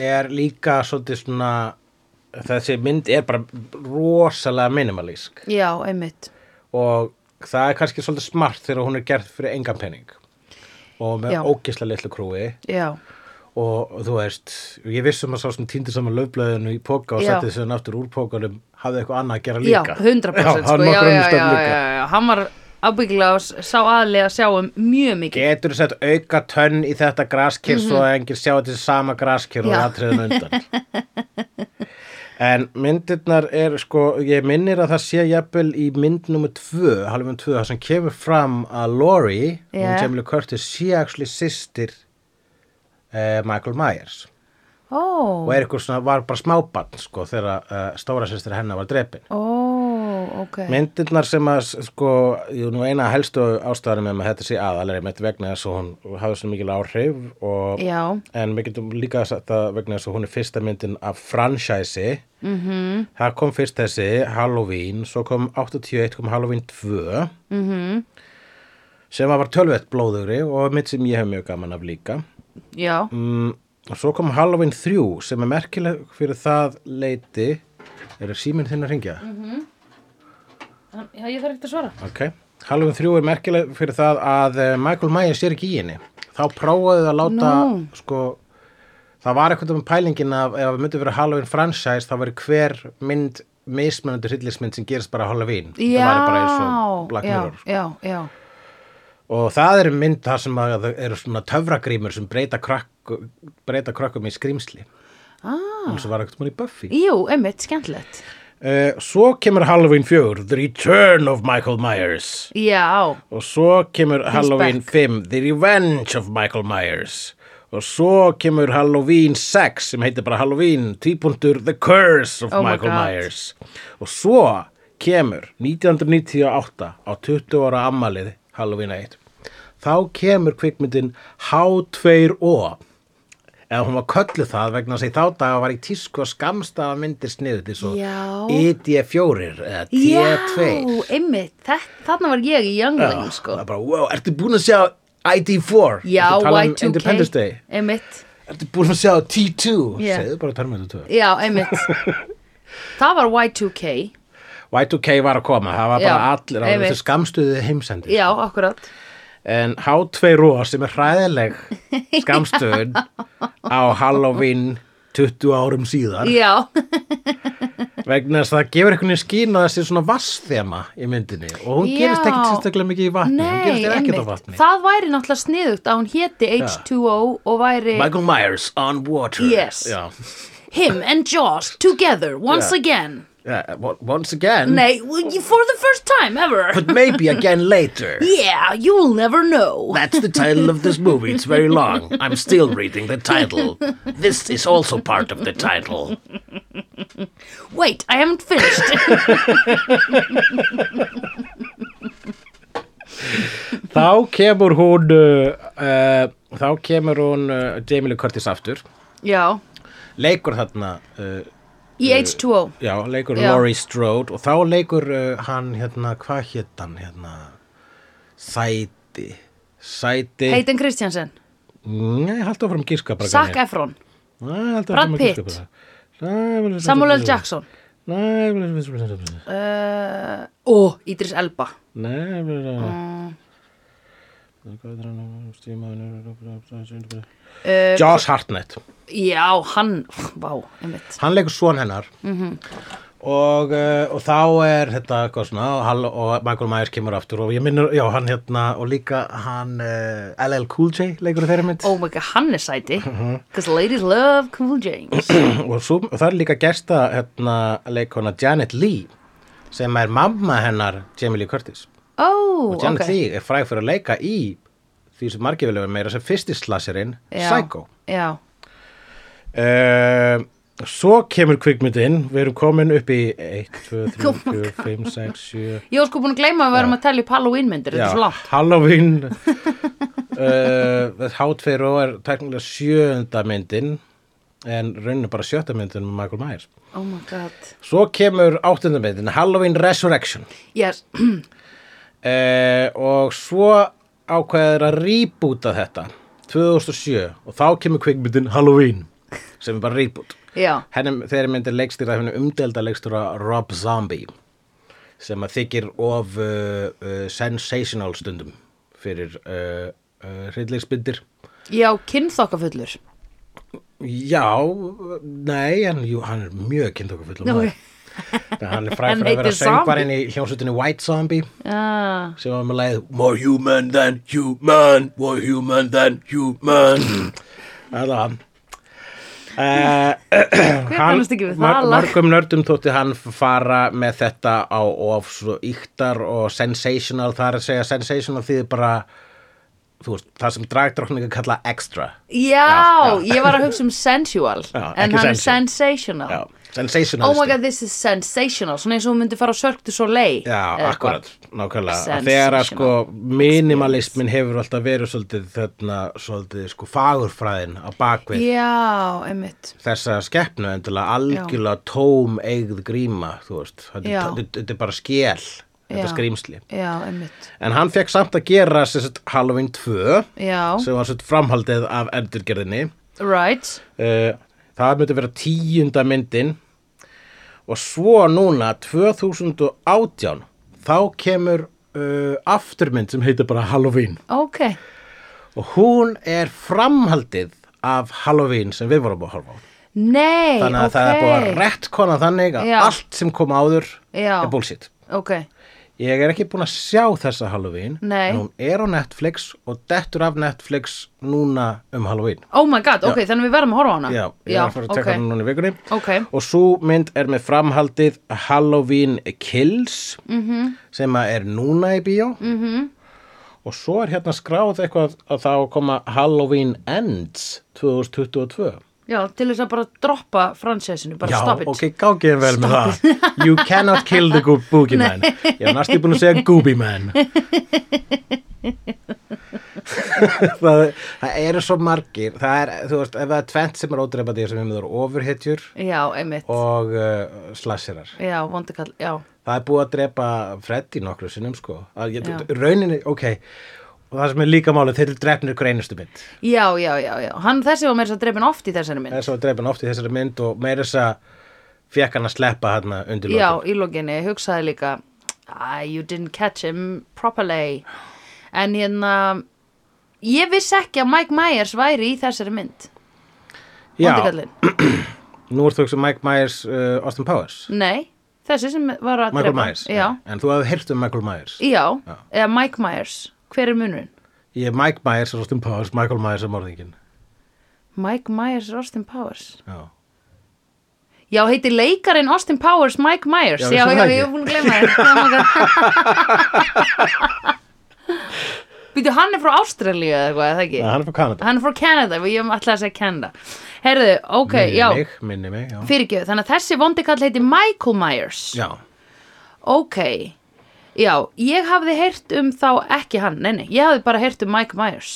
Speaker 2: er líka svolítið svona þessi mynd er bara rosalega minimalísk
Speaker 1: já, einmitt.
Speaker 2: og það er kannski svolítið smart þegar hún er gerð fyrir engan penning og með
Speaker 1: Já.
Speaker 2: ógisla litlu krúi
Speaker 1: Já,
Speaker 2: og þú veist, ég vissum að sá sem týndi saman löfblöðinu í póka og
Speaker 1: Já.
Speaker 2: setti þessu náttúr úr pókanum hafði eitthvað annað að gera
Speaker 1: já,
Speaker 2: líka
Speaker 1: 100%
Speaker 2: hann
Speaker 1: sko, já,
Speaker 2: nokkur
Speaker 1: já,
Speaker 2: önnur
Speaker 1: já,
Speaker 2: stöfn
Speaker 1: já,
Speaker 2: líka.
Speaker 1: já, já, hann var ábyggilega sá aðlega að sjá um mjög mikið.
Speaker 2: Getur þú sett auka tönn í þetta graskir svo að enginn sjá þetta sama graskir og
Speaker 1: Mhm. Já.
Speaker 2: aðtriðin undan.
Speaker 1: *laughs*
Speaker 2: en myndirnar er sko, ég minnir að það sé jafnvel í mynd nummer tvö, halvum tvö, það sem kemur fram að Lori, hún
Speaker 1: Já.
Speaker 2: Jamie Lee Curtis, sé actually systir eh, Michael Myers.
Speaker 1: Ó,
Speaker 2: Og er eitthvað svona, var bara smábann sko þegar uh, stóra systir hennar var drepin.
Speaker 1: ó, ok.
Speaker 2: Myndirnar sem að sko, jú, nú eina helstu ástæðanum með að þetta sé aðalari með vegna þess að hún hafði svo mikil áhrif og
Speaker 1: Já,
Speaker 2: en við getum líka sagt að vegna þess að hún er fyrsta myndin af franchise mm
Speaker 1: mhm,
Speaker 2: -hmm. það kom fyrst þessi Halloween, svo kom 81 kom Halloween 2 mm -hmm. sem var bara tölvett blóðugri og mynd sem ég hef mjög gaman af líka
Speaker 1: já,
Speaker 2: mm, og svo kom Halloween 3 sem er merkileg fyrir það leiti er síminn þinn að ringja?
Speaker 1: Hann- já ég þarf ekkert að svara.
Speaker 2: Ok, Halloween 3 er merkileg fyrir það að eh, Michael Myers er ekki í henni. Þá prófaðu að láta,
Speaker 1: Nú.
Speaker 2: sko, það var eitthvað um pælingin að ef það myndi vera Halloween franchise, þá veri hver mynd mismunandi hryllismynd sem gerist bara á Halloween.
Speaker 1: Já,
Speaker 2: það væri bara eins og Black
Speaker 1: já,
Speaker 2: Mirror. sko.
Speaker 1: Já, já,
Speaker 2: Og það er mynd þar sem að það eru svona töfragrímur sem breyta, krakk, breyta krökkum í skrýmsli.
Speaker 1: ah,
Speaker 2: eins og var eitthvað í Buffy.
Speaker 1: jú, einmitt, skemmtilegt.
Speaker 2: Uh, svo kemur Halloween 4, The Return of Michael Myers.
Speaker 1: Já,
Speaker 2: og svo kemur Halloween 5 The Revenge of Michael Myers og svo kemur Halloween 6 sem heitir bara Halloween 3.0 The Curse of
Speaker 1: Oh my
Speaker 2: Michael
Speaker 1: God.
Speaker 2: Myers og svo kemur 1998 á 20 ára ammalið Halloween 1 þá kemur kvikmyndin H2O eða hún var kölluð það vegna þess að í þá daga var í tísku að skamstafa myndir sniðið til svo
Speaker 1: Já.
Speaker 2: E ID4 eða T2
Speaker 1: já, einmitt, þetta, þarna var ég í Youngling,
Speaker 2: Það
Speaker 1: sko.
Speaker 2: er bara, wow, ertu búin að sjá ID4? Ertu
Speaker 1: Já,
Speaker 2: að tala um Independence
Speaker 1: Y2K,
Speaker 2: Day.
Speaker 1: einmitt,
Speaker 2: Ertu búin að sjá T2?
Speaker 1: Já.
Speaker 2: Segðu bara Terminator 2.
Speaker 1: já,
Speaker 2: *laughs*
Speaker 1: einmitt. Það var Y2K,
Speaker 2: Y2K var að koma, það var bara
Speaker 1: Já,
Speaker 2: allir, það var
Speaker 1: einmitt.
Speaker 2: þessi skamstuði heimsendi.
Speaker 1: já, akkurat.
Speaker 2: En H2Ró sem er
Speaker 1: *laughs*
Speaker 2: hræðileg skamstuðun á Halloween 20 árum síðar
Speaker 1: Já,
Speaker 2: vegna þess að það gefur einhvern veginn skýna þessi svona vassþema í myndinni og hún gerist ekki
Speaker 1: Já.
Speaker 2: sérstaklega mikið í vatni, hún
Speaker 1: nei,
Speaker 2: gerist ekki á
Speaker 1: einmitt.
Speaker 2: vatni.
Speaker 1: Það væri náttúrulega sniðugt að hún héti H2O og væri
Speaker 2: Michael Myers on water.
Speaker 1: Yes.
Speaker 2: Já.
Speaker 1: him and Jaws together once
Speaker 2: Já.
Speaker 1: again.
Speaker 2: Yeah, once again.
Speaker 1: Nei, well, for the first time ever.
Speaker 2: but maybe again later.
Speaker 1: Yeah, you'll never know.
Speaker 2: That's the title of this movie. It's very long. I'm still reading the title. This is also part of the title.
Speaker 1: Wait, I haven't finished.
Speaker 2: Þá kemur hún, uh, uh, þá kemur hún uh, Jamie Lee Curtis aftur.
Speaker 1: *laughs* Já,
Speaker 2: Leikur þarna uh,
Speaker 1: Í H2O
Speaker 2: Já, leikur
Speaker 1: Já.
Speaker 2: Laurie Strode og þá leikur uh, hann hérna, hvað hétt hann hérna Sæti Sæti
Speaker 1: Hayden Christiansen,
Speaker 2: Nei, haldi áfram að gíska bara
Speaker 1: Zac
Speaker 2: gamli.
Speaker 1: Efron
Speaker 2: Nei, haldi
Speaker 1: Brad
Speaker 2: áfram að giska
Speaker 1: Pitt.
Speaker 2: bara.
Speaker 1: Samuel L. Jackson
Speaker 2: Nei,
Speaker 1: uh, og Idris Elba
Speaker 2: Nei,
Speaker 1: uh,
Speaker 2: Josh
Speaker 1: uh,
Speaker 2: Hartnett
Speaker 1: Já, hann, vá, einmitt
Speaker 2: hann leikur svon hennar og, uh, og þá er þetta eitthvað svona og, hall- og Michael Myers kemur aftur og ég minnur, já hann hérna og líka hann uh, LL Cool J leikur í þeirri mynd
Speaker 1: Oh my god, hann er sæti Because ladies love Cool James
Speaker 2: *clears throat* og, svo, og það er líka gesta hérna, leikona Janet Leigh sem er mamma hennar Jamie Lee Curtis
Speaker 1: Oh,
Speaker 2: og Janet
Speaker 1: ok
Speaker 2: Leigh er fræg fyrir að leika í því sem margir vilja vera meira sem fyrsti slasirinn
Speaker 1: Já,
Speaker 2: Psycho
Speaker 1: Já,
Speaker 2: Eh, svo kemur kvikmyndin við erum komin upp í 1, 2,
Speaker 1: *laughs*
Speaker 2: 3,
Speaker 1: Oh
Speaker 2: 4, 5, 6, 7
Speaker 1: ég var sko búin að gleyma að við erum að tella upp Halloween myndir Þetta er svo langt
Speaker 2: Halloween
Speaker 1: *laughs*
Speaker 2: uh, Hátferó er teknilega sjöunda myndin en rauninu bara sjötta myndin með Michael Myers
Speaker 1: Oh my god
Speaker 2: svo kemur áttunda myndin Halloween Resurrection
Speaker 1: Yes, *clears throat*
Speaker 2: uh, og svo ákveður að rýbúta þetta 2007 og þá kemur kvikmyndin Halloween sem er bara rýbút
Speaker 1: já
Speaker 2: henni, þeirri myndir leikstýra henni umdelda leikstýra Rob Zombie sem að þykir of uh, uh, sensational stundum fyrir uh, uh, hryllingsbyndir
Speaker 1: Já, kynþokkafullur
Speaker 2: Já, nei, en jú, hann er mjög kynntokkufull
Speaker 1: Ok.
Speaker 2: Hann er
Speaker 1: *laughs* Hann
Speaker 2: fræg fyrir að vera
Speaker 1: heitir
Speaker 2: söngvarinn í hljómsveitinni White Zombie
Speaker 1: Já,
Speaker 2: sem var með leið More human than human, more human than human *clears throat* Það var hann Uh, *clears throat*
Speaker 1: kannast ekki við það lag?
Speaker 2: mörgum nördum þótti hann fara með þetta á of svo yktar og sensational, það er að segja sensational því bara þú veist, það sem dragdrottninga kalla extra
Speaker 1: já,
Speaker 2: Já, já.
Speaker 1: ég var að hugsa um sensual
Speaker 2: Já,
Speaker 1: En
Speaker 2: ekki
Speaker 1: hann er
Speaker 2: sensual.
Speaker 1: sensational
Speaker 2: Já, sensational
Speaker 1: Oh my god, this is sensational Svona eins og hún myndi fara á Cirque du Soleil
Speaker 2: Já,
Speaker 1: eða
Speaker 2: akkurat,
Speaker 1: eitthvað.
Speaker 2: nákvæmlega Að
Speaker 1: Sensational
Speaker 2: Þegar að sko minimalismin hefur alltaf verið svolítið þarna, svolítið sko fagurfræðin á bakvið
Speaker 1: Já, einmitt
Speaker 2: þessa skeppnu endilega algjörlega tóm eigð gríma, þú veist þetta,
Speaker 1: Já.
Speaker 2: er- þetta, þetta er bara skél, þetta
Speaker 1: Já.
Speaker 2: skrýmsli
Speaker 1: Já, einmitt
Speaker 2: En hann fekk samt að gera sem sagt, Halloween 2
Speaker 1: Já,
Speaker 2: sem var sem sagt, framhaldið af endurgerðinni
Speaker 1: right
Speaker 2: Eh, það myndi vera tíunda myndin og svo núna 2018 þá kemur uh, afturmynd sem heitir bara Halloween
Speaker 1: Ok,
Speaker 2: og hún er framhaldið af Halloween sem við vorum að horfa á
Speaker 1: nei,
Speaker 2: þannig að
Speaker 1: ok
Speaker 2: það er búið að rettkona þannig að
Speaker 1: Já.
Speaker 2: allt sem kom áður
Speaker 1: Já.
Speaker 2: er bullshit
Speaker 1: Ok,
Speaker 2: ég er ekki búin að sjá þessa Halloween
Speaker 1: Nei.
Speaker 2: en hún er á Netflix og dettur af Netflix núna um Halloween
Speaker 1: oh my god, ok, þannig að við verðum að horfa á hana
Speaker 2: Já, ég er að fara að tekka
Speaker 1: ok.
Speaker 2: hann núna í vikunni
Speaker 1: Ok.
Speaker 2: Og svo mynd er með framhaldið Halloween Kills -hmm.
Speaker 1: Mhm.
Speaker 2: sem að er núna í bíó -hmm. og svo er hérna skráð eitthvað að þá koma Halloween Ends 2022
Speaker 1: Já, til þess að bara droppa fransesinu, bara
Speaker 2: Já,
Speaker 1: stop it.
Speaker 2: ok, gáði ég vel með
Speaker 1: *laughs*
Speaker 2: það You cannot kill the goo- boogie man Ég var næstu búin að segja goobie
Speaker 1: *laughs*
Speaker 2: man það, það eru svo margir Það er, þú veist, ef það er tvent sem er ódreipandi sem við erum ofurhetjur
Speaker 1: Já, einmitt.
Speaker 2: og uh, slasherar.
Speaker 1: Já, vondikall, já.
Speaker 2: Það er búið að drepa Freddy nokkru sinnum sko. Að Ég, rauninni, ok, og það sem er líka málið, þeir eru drefnir hver einustu mynd.
Speaker 1: Já, já, já, já. Hann þessi var meira svo drefin oft í þessari
Speaker 2: Það
Speaker 1: mynd.
Speaker 2: er svo að drepa hann oft í þessari mynd og meira þess að fekk hann að sleppa hann undir
Speaker 1: Já,
Speaker 2: lokin.
Speaker 1: í lokinni, hugsaði líka, ah, you didn't catch him properly. En hérna, ég vissi ekki að Mike Myers væri í þessari mynd. Vondikallin.
Speaker 2: nú er þú ekki Mike Myers, uh, Austin Powers,
Speaker 1: Nei, þessi sem var að
Speaker 2: Michael
Speaker 1: drepa.
Speaker 2: Myers.
Speaker 1: Já,
Speaker 2: En þú hefði heyrt um Michael Myers.
Speaker 1: já, eða Mike Myers. Hver er munurinn?
Speaker 2: Ég er Mike Myers, er Austin Powers, Michael Myers er morðingin.
Speaker 1: Mike Myers er Austin Powers.
Speaker 2: Já.
Speaker 1: Já, heitir leikarinn Austin Powers Mike Myers.
Speaker 2: Já,
Speaker 1: Já,
Speaker 2: vissi
Speaker 1: já, já,
Speaker 2: það
Speaker 1: ég er
Speaker 2: ekki?
Speaker 1: búin að gleyma *laughs* það. Býtu, hann er frá Ástralíu eða eitthvað, eða ekki?
Speaker 2: Nei, hann er frá Kanada.
Speaker 1: Hann er frá Canada, ég hef alltaf að segja Canada. Herðu, ok,
Speaker 2: minni
Speaker 1: já,
Speaker 2: mig, minni mig, já.
Speaker 1: fyrirgjöð, þannig að þessi vondikall heiti Michael Myers.
Speaker 2: Já,
Speaker 1: Ok, já, ég hafði heyrt um þá ekki hann, nei, nei, ég hafði bara heyrt um Mike Myers.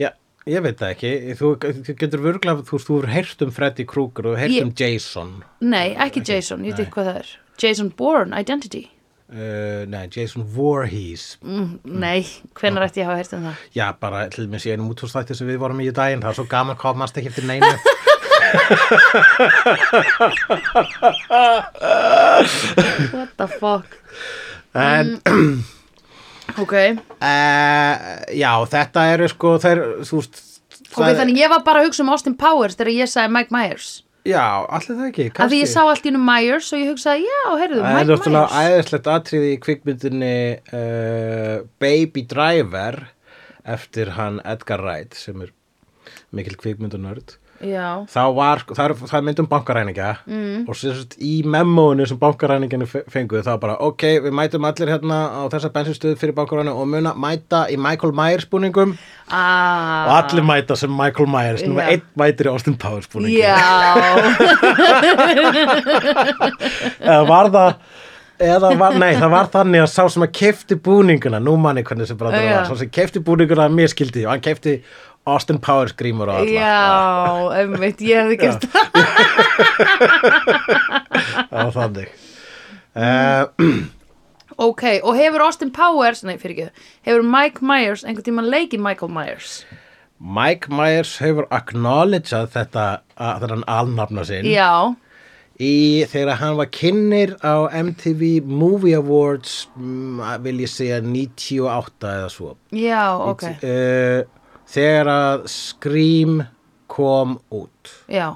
Speaker 2: já. Ég veit það ekki, þú, þú getur vörgla, þú, þú hefur heyrt um Freddy Krueger og heyrt
Speaker 1: Ég-
Speaker 2: um Jason.
Speaker 1: Nei, ekki Jason, ég veit
Speaker 2: Nei.
Speaker 1: hvað það er Jason Bourne, Identity
Speaker 2: Uh, nei, Jason Voorhees.
Speaker 1: mm, Nei, hvenær ætti ég að hafa heyrt um það?
Speaker 2: Já, bara til mér sé einum útfórstætti sem við vorum í í daginn, það er svo gaman hvað mannst ekki eftir
Speaker 1: *laughs*
Speaker 2: neinu.
Speaker 1: What the fuck? Mm.
Speaker 2: en,
Speaker 1: Ok,
Speaker 2: uh, já, þetta eru sko, þeir, þú veist,
Speaker 1: ok, þannig ég var bara að hugsa um Austin Powers þegar ég sagði Mike Myers
Speaker 2: Já, allir það ekki,
Speaker 1: Af því
Speaker 2: kannski.
Speaker 1: ég sá allt í unum Myers og ég hugsaði, já, heyrðu,
Speaker 2: Það er
Speaker 1: Mike
Speaker 2: náttúrulega
Speaker 1: Myers
Speaker 2: æðislegt atriði í kvikmyndinni uh, Baby Driver eftir hann Edgar Wright sem er mikil kvikmyndunörd
Speaker 1: Já,
Speaker 2: þá var, sko- það er, það er mynd um bankaræningja mm. og sem sagt í memóinu sem bankaræningjanu fenguðu þá bara ok, við mætum allir hérna á þessa bensinstöð fyrir bankaræningu og muna mæta í Michael Myers búningum og
Speaker 1: aaa
Speaker 2: allir mæta sem Michael Myers nema
Speaker 1: Ah. Já.
Speaker 2: einn mætir í Austin Powers búningi
Speaker 1: Já,
Speaker 2: eða var það eða var, nei, það var þannig að sá sem að kefti búninguna, nú manni hvernig sem bara
Speaker 1: Já.
Speaker 2: var, sá sem kefti búninguna að mér skildi og hann kefti Austin Powers grímur
Speaker 1: *laughs*
Speaker 2: og alla
Speaker 1: já, einmitt, ég hefði gert það
Speaker 2: það var þannig uh,
Speaker 1: Ok, og hefur Austin Powers, nei, fyrir ekki, hefur Mike Myers einhvern tímann leikið Michael Myers?
Speaker 2: Mike Myers hefur acknowledgeað þetta að þannig alnafna sinn
Speaker 1: Já,
Speaker 2: í þegar hann var kynir á MTV Movie Awards mm, vil ég segja 98 eða svo
Speaker 1: já, ok,
Speaker 2: Eh, þegar að Scream kom út
Speaker 1: já,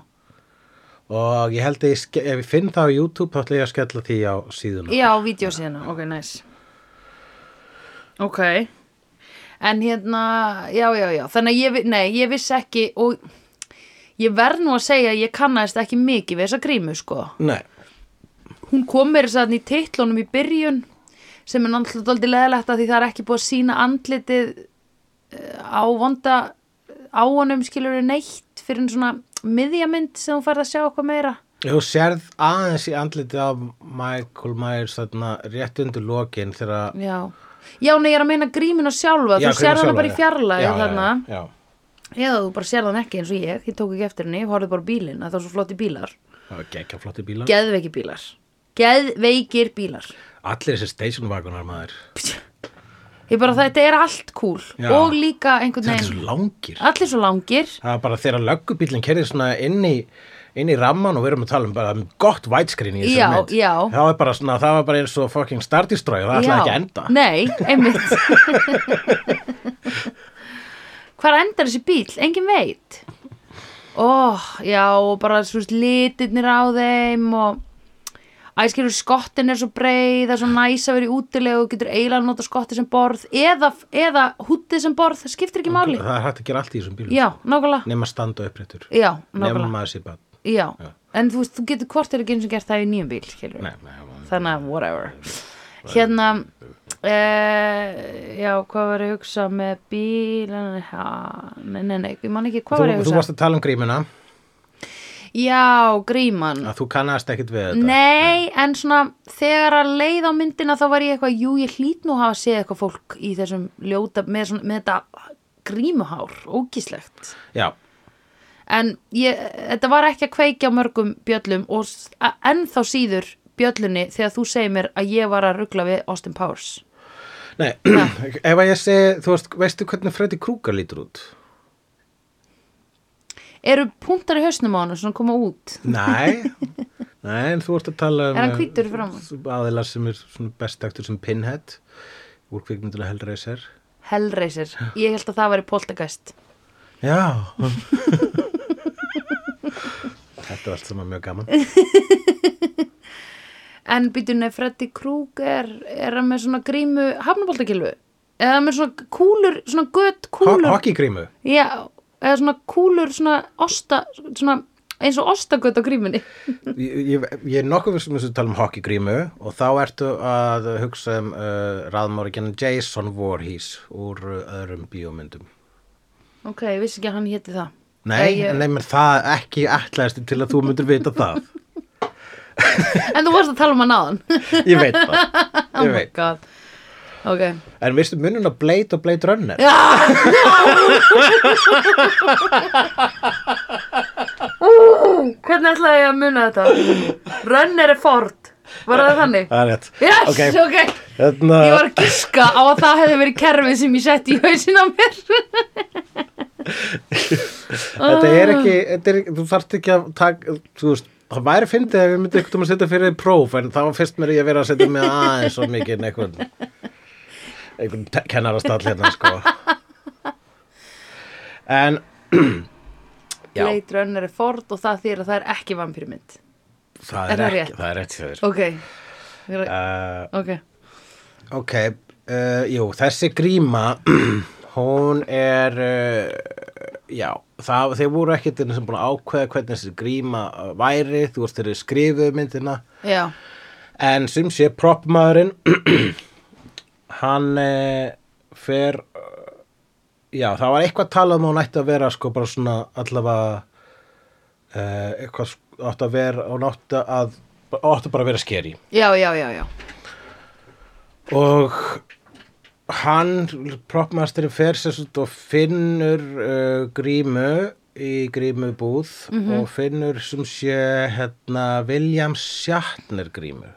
Speaker 2: og ég held að ég, ske- ef ég finn það á YouTube þá ætla ég að skella því á síðuna
Speaker 1: já, vídeosíðana, ok, nice. Ok, en hérna, já, já, já, þannig að ég, vi- nei, ég vissi ekki og ég verð nú að segja að ég kannaðist ekki mikið við þessa grímu, sko.
Speaker 2: Nei,
Speaker 1: Hún kom mér þess að í titlunum í byrjun sem er náttúrulega dálítið leðilegt að því það er ekki búið að sína andlitið eh, á vonda á honum skilur neitt fyrir en svona miðjamynd sem hún færð að sjá eitthvað meira.
Speaker 2: þú sérð aðeins í andliti af Michael Myers þarna rétt undir lokin þegar að
Speaker 1: Já, já, nei, ég er að meina grímina sjálfa,
Speaker 2: Já,
Speaker 1: þú sér
Speaker 2: sjálfa,
Speaker 1: hana bara í
Speaker 2: já.
Speaker 1: fjarlæði
Speaker 2: Já, já,
Speaker 1: þarna,
Speaker 2: já,
Speaker 1: eða þú bara sér hana ekki eins og ég, ég tók ekki eftir henni, ég horfði bara á bílinn, að það var svo flotti bílar,
Speaker 2: já, það var gekkja flotti bílar
Speaker 1: geðveiki bílar, geðveikir bílar.
Speaker 2: Allir þessi stationvagonar maður
Speaker 1: Ég bara, þetta er allt cool
Speaker 2: Mhm. Já.
Speaker 1: og líka einhvern
Speaker 2: Það er svo
Speaker 1: veginn,
Speaker 2: langir
Speaker 1: allir svo langir,
Speaker 2: Það var bara þegar löggubílinn kerði svona inn í inn í ramman og við erum að tala um bara um gott widescreen í þessu
Speaker 1: Já,
Speaker 2: mynd
Speaker 1: já.
Speaker 2: það var bara svona, það var bara eins og fucking Star Destroyer, það ætlaði ekki að enda
Speaker 1: Nei, einmitt Hvar endar þessi bíl? Engin veit Ó, já, og bara svo veist, litirnir á þeim og æskilur skottin er svo breið það er svo næs að vera í útilegu og getur eiginlega nota skotti sem borð eða, eða húttið sem borð, það skiptir ekki máli
Speaker 2: það er hægt að gera allt í þessum bílum
Speaker 1: Já, nákvæmlega
Speaker 2: nema standa uppréttur
Speaker 1: Já,
Speaker 2: nema
Speaker 1: nákvæmlega
Speaker 2: maður sér bara
Speaker 1: Já, en þú veist, þú getur hvort er ekki eins og gert það í nýjum bíl, skilur
Speaker 2: Nei, nei, það var-
Speaker 1: þannig að whatever hérna eh, já, hvað var ég að hugsa með bíl ha, nei, nei, nei, ég man ekki hvað var
Speaker 2: þú,
Speaker 1: ég að
Speaker 2: þú
Speaker 1: hugsa
Speaker 2: varst að tala um grímuna
Speaker 1: já, gríman
Speaker 2: að þú kannast ekkert við Ah, þetta
Speaker 1: nei, en svona þegar að leið á myndina þá var ég eitthvað, jú, ég hlýt nú að hafa séð eitthvað fólk í þessum ljóta með, svona, með þetta grímuhár, ógíslegt
Speaker 2: já,
Speaker 1: en ég, þetta var ekki að kveikja á mörgum bjöllum og s- a- ennþá síður bjöllunni þegar þú segir mér að ég var að ruggla við Austin Powers
Speaker 2: nei, *clears throat* ef að ég segi þú veist, veistu hvernig Freddy Krueger lítur út
Speaker 1: eru punktar í hausnum á hann sem koma út *laughs*
Speaker 2: nei nei, en þú ert að tala um
Speaker 1: Er hann hvítur framan?
Speaker 2: aðila sem er svona best aktur sem Pinhead úr kvikmynduna Hellraiser
Speaker 1: Hellraiser, ég held að það væri poltergeist
Speaker 2: já *laughs* þetta var allt saman mjög gaman
Speaker 1: en býtunni Freddy Krueger er hann með svona grímu hafnaboltakilfu eða með svona kúlur, svona gött
Speaker 2: Ho
Speaker 1: kúlur
Speaker 2: hokkigrímu
Speaker 1: já, eða svona kúlur svona osta, svona eins og ostagött á grímunni
Speaker 2: ég, ég, ég er nokkuð vissum þess að tala um hokkigrímu og þá ertu að hugsa um uh, raðmorgin Jason Voorhees úr uh, öðrum bíómyndum
Speaker 1: ok, ég vissi ekki að hann héti það
Speaker 2: Nei,
Speaker 1: Eða
Speaker 2: ég...
Speaker 1: ég,
Speaker 2: nefnir það ekki ætlaðist til að þú myndir vita það
Speaker 1: en þú varst að tala um hann áðan
Speaker 2: Ég veit það
Speaker 1: oh
Speaker 2: Ég
Speaker 1: my
Speaker 2: veit
Speaker 1: god ok
Speaker 2: En veistu munun á Blade og Blade Runner?
Speaker 1: Já, hvernig ætlaði ég að muna þetta? Runner er Ford, var það þannig?
Speaker 2: Það er rétt. Hérna-
Speaker 1: Yes, ok,
Speaker 2: Ok, Þarna,
Speaker 1: ég var að giska á að það hefði verið kerfið sem ég setti í hausin á mér
Speaker 2: þetta
Speaker 1: Ah.
Speaker 2: er ekki, þetta er, þú þarft ekki að taka, þú veist, það væri fyndið ef við myndum eitthvað að setja fyrir þig próf, en það var fyrst mér að ég verið að setja mig aðeins svo mikið en einhvern, einhvern te- kennarastall hérna, sko. En, *clears throat* já,
Speaker 1: Blade Runner er Ford og það þýr að það er ekki vampýrmynd
Speaker 2: það
Speaker 1: er
Speaker 2: er
Speaker 1: það rétt?
Speaker 2: ekki, það er rétt hjá þér.
Speaker 1: Ok, Ég er að-
Speaker 2: Uh,
Speaker 1: ok
Speaker 2: Ok, uh, jú, þessi gríma, *clears throat* hún er, uh, já, það, þeir voru ekkert einu sem búin að ákveða hvernig þessi gríma uh, væri, þú veist þeirri skrifuðu myndina,
Speaker 1: Já,
Speaker 2: en sem sé proppmaðurinn, *clears throat* hann uh, fer, uh, já, það var eitthvað talað um að hún ætti að vera, sko, bara svona allavega, uh, eitthvað sk- átti að vera, hún átti að, átti bara að vera skeri.
Speaker 1: já, já, já, já
Speaker 2: og hann propmasterin fer sér svolítið og finnur uh, grímu í grímubúð
Speaker 1: Mhm.
Speaker 2: og finnur sem sé hérna William Shatner grímu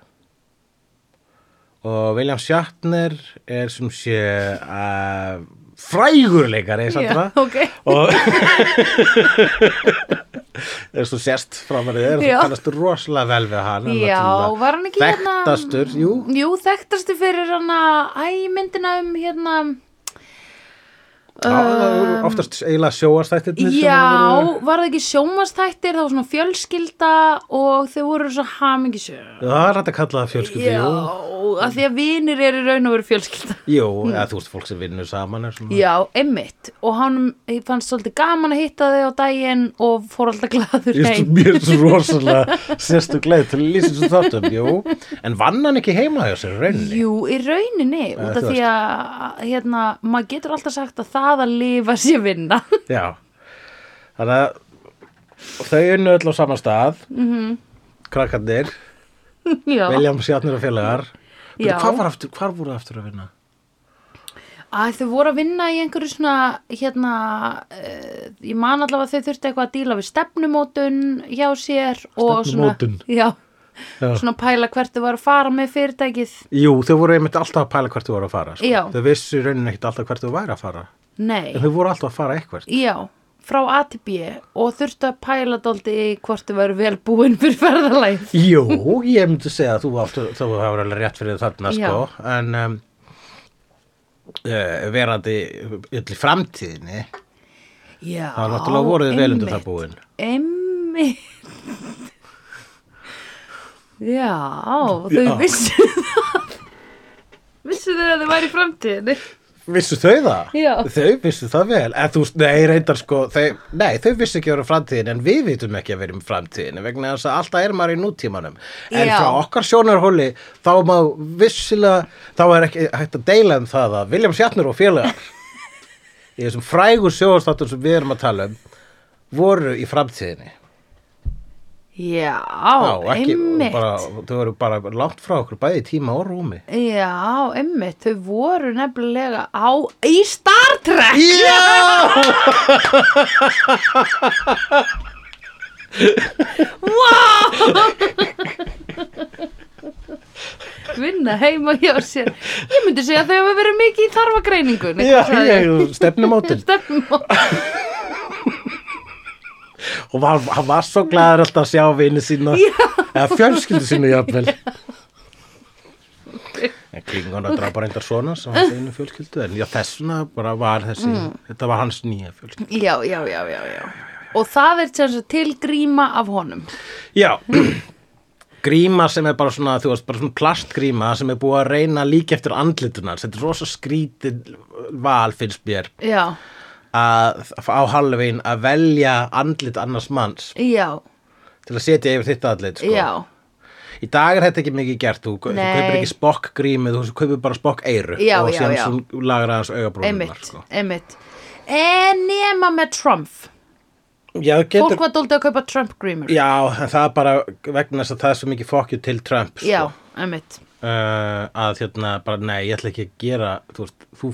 Speaker 2: og William Shatner er sem sé uh, frægurleikari Sandra
Speaker 1: Já, ok.
Speaker 2: og *laughs* er svo sérst framarið er og
Speaker 1: Já.
Speaker 2: þú kannast rosalega vel við hann hann er
Speaker 1: Já,
Speaker 2: náttúrulega
Speaker 1: var hann ekki hérna-
Speaker 2: þekktastur, jú
Speaker 1: Jú, þekktastu fyrir hana æ, myndina um hérna
Speaker 2: Já, það voru oftast eiginlega sjóastættirnir sem
Speaker 1: Um, Já,
Speaker 2: voru-
Speaker 1: var það ekki sjómastættir það var svona fjölskylda og þau voru svo hamingisjö
Speaker 2: Já, það er hægt að kalla það fjölskyldu,
Speaker 1: Já,
Speaker 2: jú.
Speaker 1: að því að vinir eru í raun og veru fjölskylda
Speaker 2: Jú, eða þú veist, fólk sem vinnur saman er svona.
Speaker 1: Hm. Já, einmitt og hann fannst svolítið gaman að hitta þau á daginn og fór alltaf glaður
Speaker 2: Ég veist,
Speaker 1: heim
Speaker 2: mér er svo rosalega sérstu gleð til að lýsa þessu þáttum, jú. En vann hann ekki heima hjá sér í rauninni?
Speaker 1: Jú, í rauninni, út af
Speaker 2: þú
Speaker 1: því að hérna, maður getur alltaf sagt að það að lifa sé vinna
Speaker 2: Já. Þannig að þau unnu öll á sama stað, -hmm. krakkarnir,
Speaker 1: *laughs* Mhm. Já,
Speaker 2: William Sjátnir og félagar.
Speaker 1: Já.
Speaker 2: Bíddu, Hvar, var aftur, hvar voru aftur að vinna?
Speaker 1: að þau voru að vinna í einhverju svona hérna, uh, ég man allavega að þau þurfti eitthvað að díla við stefnumótun hjá sér og svona,
Speaker 2: Stefnumótun?
Speaker 1: já,
Speaker 2: Já.
Speaker 1: svona pæla hvert þau var að fara með fyrirtækið
Speaker 2: Jú, þau voru einmitt alltaf að pæla hvert þau voru að fara. Sko.
Speaker 1: Já.
Speaker 2: Þau vissu í rauninni ekkert alltaf hvert þau væri að fara.
Speaker 1: nei,
Speaker 2: En þau voru alltaf að fara eitthvað.
Speaker 1: já frá A til B og þurfti að pæla dóldi hvort þau væru vel búin fyrir ferðalæð
Speaker 2: Jú, ég myndi segja að þú áttu, þú hefur alveg rétt fyrir þarna
Speaker 1: Já.
Speaker 2: sko, en um, uh, verandi öll í framtíðinni,
Speaker 1: já,
Speaker 2: þá er náttúrulega voruð vel undir það
Speaker 1: einmitt,
Speaker 2: búin.
Speaker 1: einmitt *laughs* já, þau
Speaker 2: Já.
Speaker 1: vissu það *laughs* vissu þau að þau væri í framtíðinni
Speaker 2: Vissu þau það?
Speaker 1: Já.
Speaker 2: Þau vissu það vel, en þú, nei, reyndar sko, þau, nei, þau vissu ekki að vera í framtíðinni, en við vitum ekki að vera í framtíðinni, vegna þess að alltaf er maður í nútímanum. En
Speaker 1: Já.
Speaker 2: frá okkar sjónarhóli, þá má vissilega, þá er ekki hægt að deila um það að William Shatner og
Speaker 1: *laughs*
Speaker 2: félagar, í þessum frægur sjóðastáttum sem við erum að tala um, voru í framtíðinni.
Speaker 1: Já,
Speaker 2: Já, ekki,
Speaker 1: einmitt.
Speaker 2: bara, þau eru bara langt frá okkur bæði í tíma og rúmi
Speaker 1: Já, einmitt. Þau voru nefnilega á í Star Trek.
Speaker 2: Já! *laughs*
Speaker 1: Vinna heima hjá sér. Ég myndi segja að þau hefur verið mikið í þarfagreiningunni.
Speaker 2: Já, ég, stefnumótin
Speaker 1: Stefnum á.
Speaker 2: og hann, hann var svo glæður alltaf að sjá vini sína eða fjölskyldu sína jafnvel en klingona drapa reyndar svona sem hans einu fjölskyldu en já þessuna bara var þessi þetta var hans nýja fjölskyldu
Speaker 1: Já, já, já, já, já. Og það er sem sagt til gríma af honum.
Speaker 2: já *clears throat* gríma sem er bara svona þú veist bara svona plastgríma sem er búið að reyna líka eftir andlitunar þetta er rosa skrítið val finnst mér
Speaker 1: Já,
Speaker 2: að á Halloween að velja andlit annars manns
Speaker 1: já,
Speaker 2: til að setja yfir þitt andlit sko.
Speaker 1: já.
Speaker 2: í dag er þetta ekki mikið gert þú, þú
Speaker 1: Nei.
Speaker 2: kaupir ekki spokk grímið þú kaupir bara spokk eiru
Speaker 1: Já,
Speaker 2: og
Speaker 1: já,
Speaker 2: síðan
Speaker 1: já.
Speaker 2: svo lagar aðeins augabrónunar
Speaker 1: Einmitt,
Speaker 2: sko.
Speaker 1: einmitt. En nema með Trump.
Speaker 2: já, getur,
Speaker 1: Fólk var dóldi að kaupa Trump grímur.
Speaker 2: já, en það er bara vegna þess að það er svo mikið fokkju til Trump sko.
Speaker 1: Já, einmitt.
Speaker 2: uh, að hérna bara nei, ég ætla ekki að gera þú veist, þú,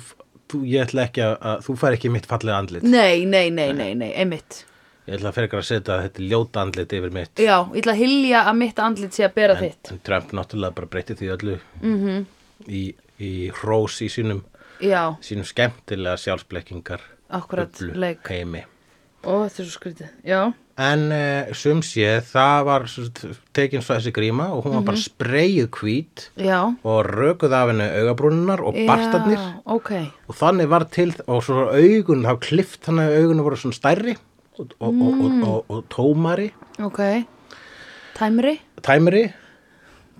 Speaker 2: þú ég ætla ekki að, að þú fær ekki mitt fallega andlit
Speaker 1: Nei, nei, nei, nei, nei, einmitt
Speaker 2: ég ætla að frekar að setja þetta ljóta andlit yfir mitt
Speaker 1: Já, ég ætla að hylja að mitt andlit sé að bera
Speaker 2: en,
Speaker 1: þitt
Speaker 2: en Trump náttúrulega bara breytti því öllu mm
Speaker 1: Mhm.
Speaker 2: -hmm. í, í rós í sínum,
Speaker 1: Já,
Speaker 2: sínum skemmtilega sjálfsblekkingar
Speaker 1: akkurat
Speaker 2: bublu
Speaker 1: leik
Speaker 2: heimi
Speaker 1: Ó, þetta er svo skrítið Já,
Speaker 2: en uh, sum sé það var sem sagt, tekin svo þessi gríma og hún var bara spreyið hvít
Speaker 1: já
Speaker 2: og rökuð af henni augabrúnnar og bartarnir
Speaker 1: Já, ok
Speaker 2: og þannig var til og svo augun þá klift þannig að augunum voru svona stærri og, og, og, og, og, og tómari
Speaker 1: Ok Tæmri,
Speaker 2: tæmri,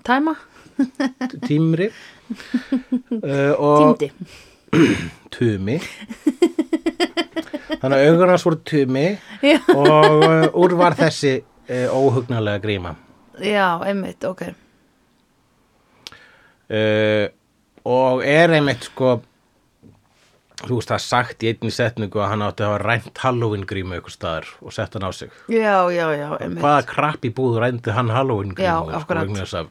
Speaker 1: tæma,
Speaker 2: tímri uh, og
Speaker 1: týndi *laughs*
Speaker 2: tumi þannig að augun hans voru tumi
Speaker 1: Já.
Speaker 2: og uh, úr var þessi uh, óhugnalega gríma
Speaker 1: Já, einmitt, ok
Speaker 2: uh, og er einmitt sko þú veist það er sagt í einni setningu að hann átti að hafa rænt Halloween grímu ykkur staðar og sett hann á sig
Speaker 1: Já, já, já, einmitt
Speaker 2: hvaða krapp í búð rændi hann Halloween grímu
Speaker 1: Já,
Speaker 2: sko,
Speaker 1: akkurat.
Speaker 2: vegna þess að,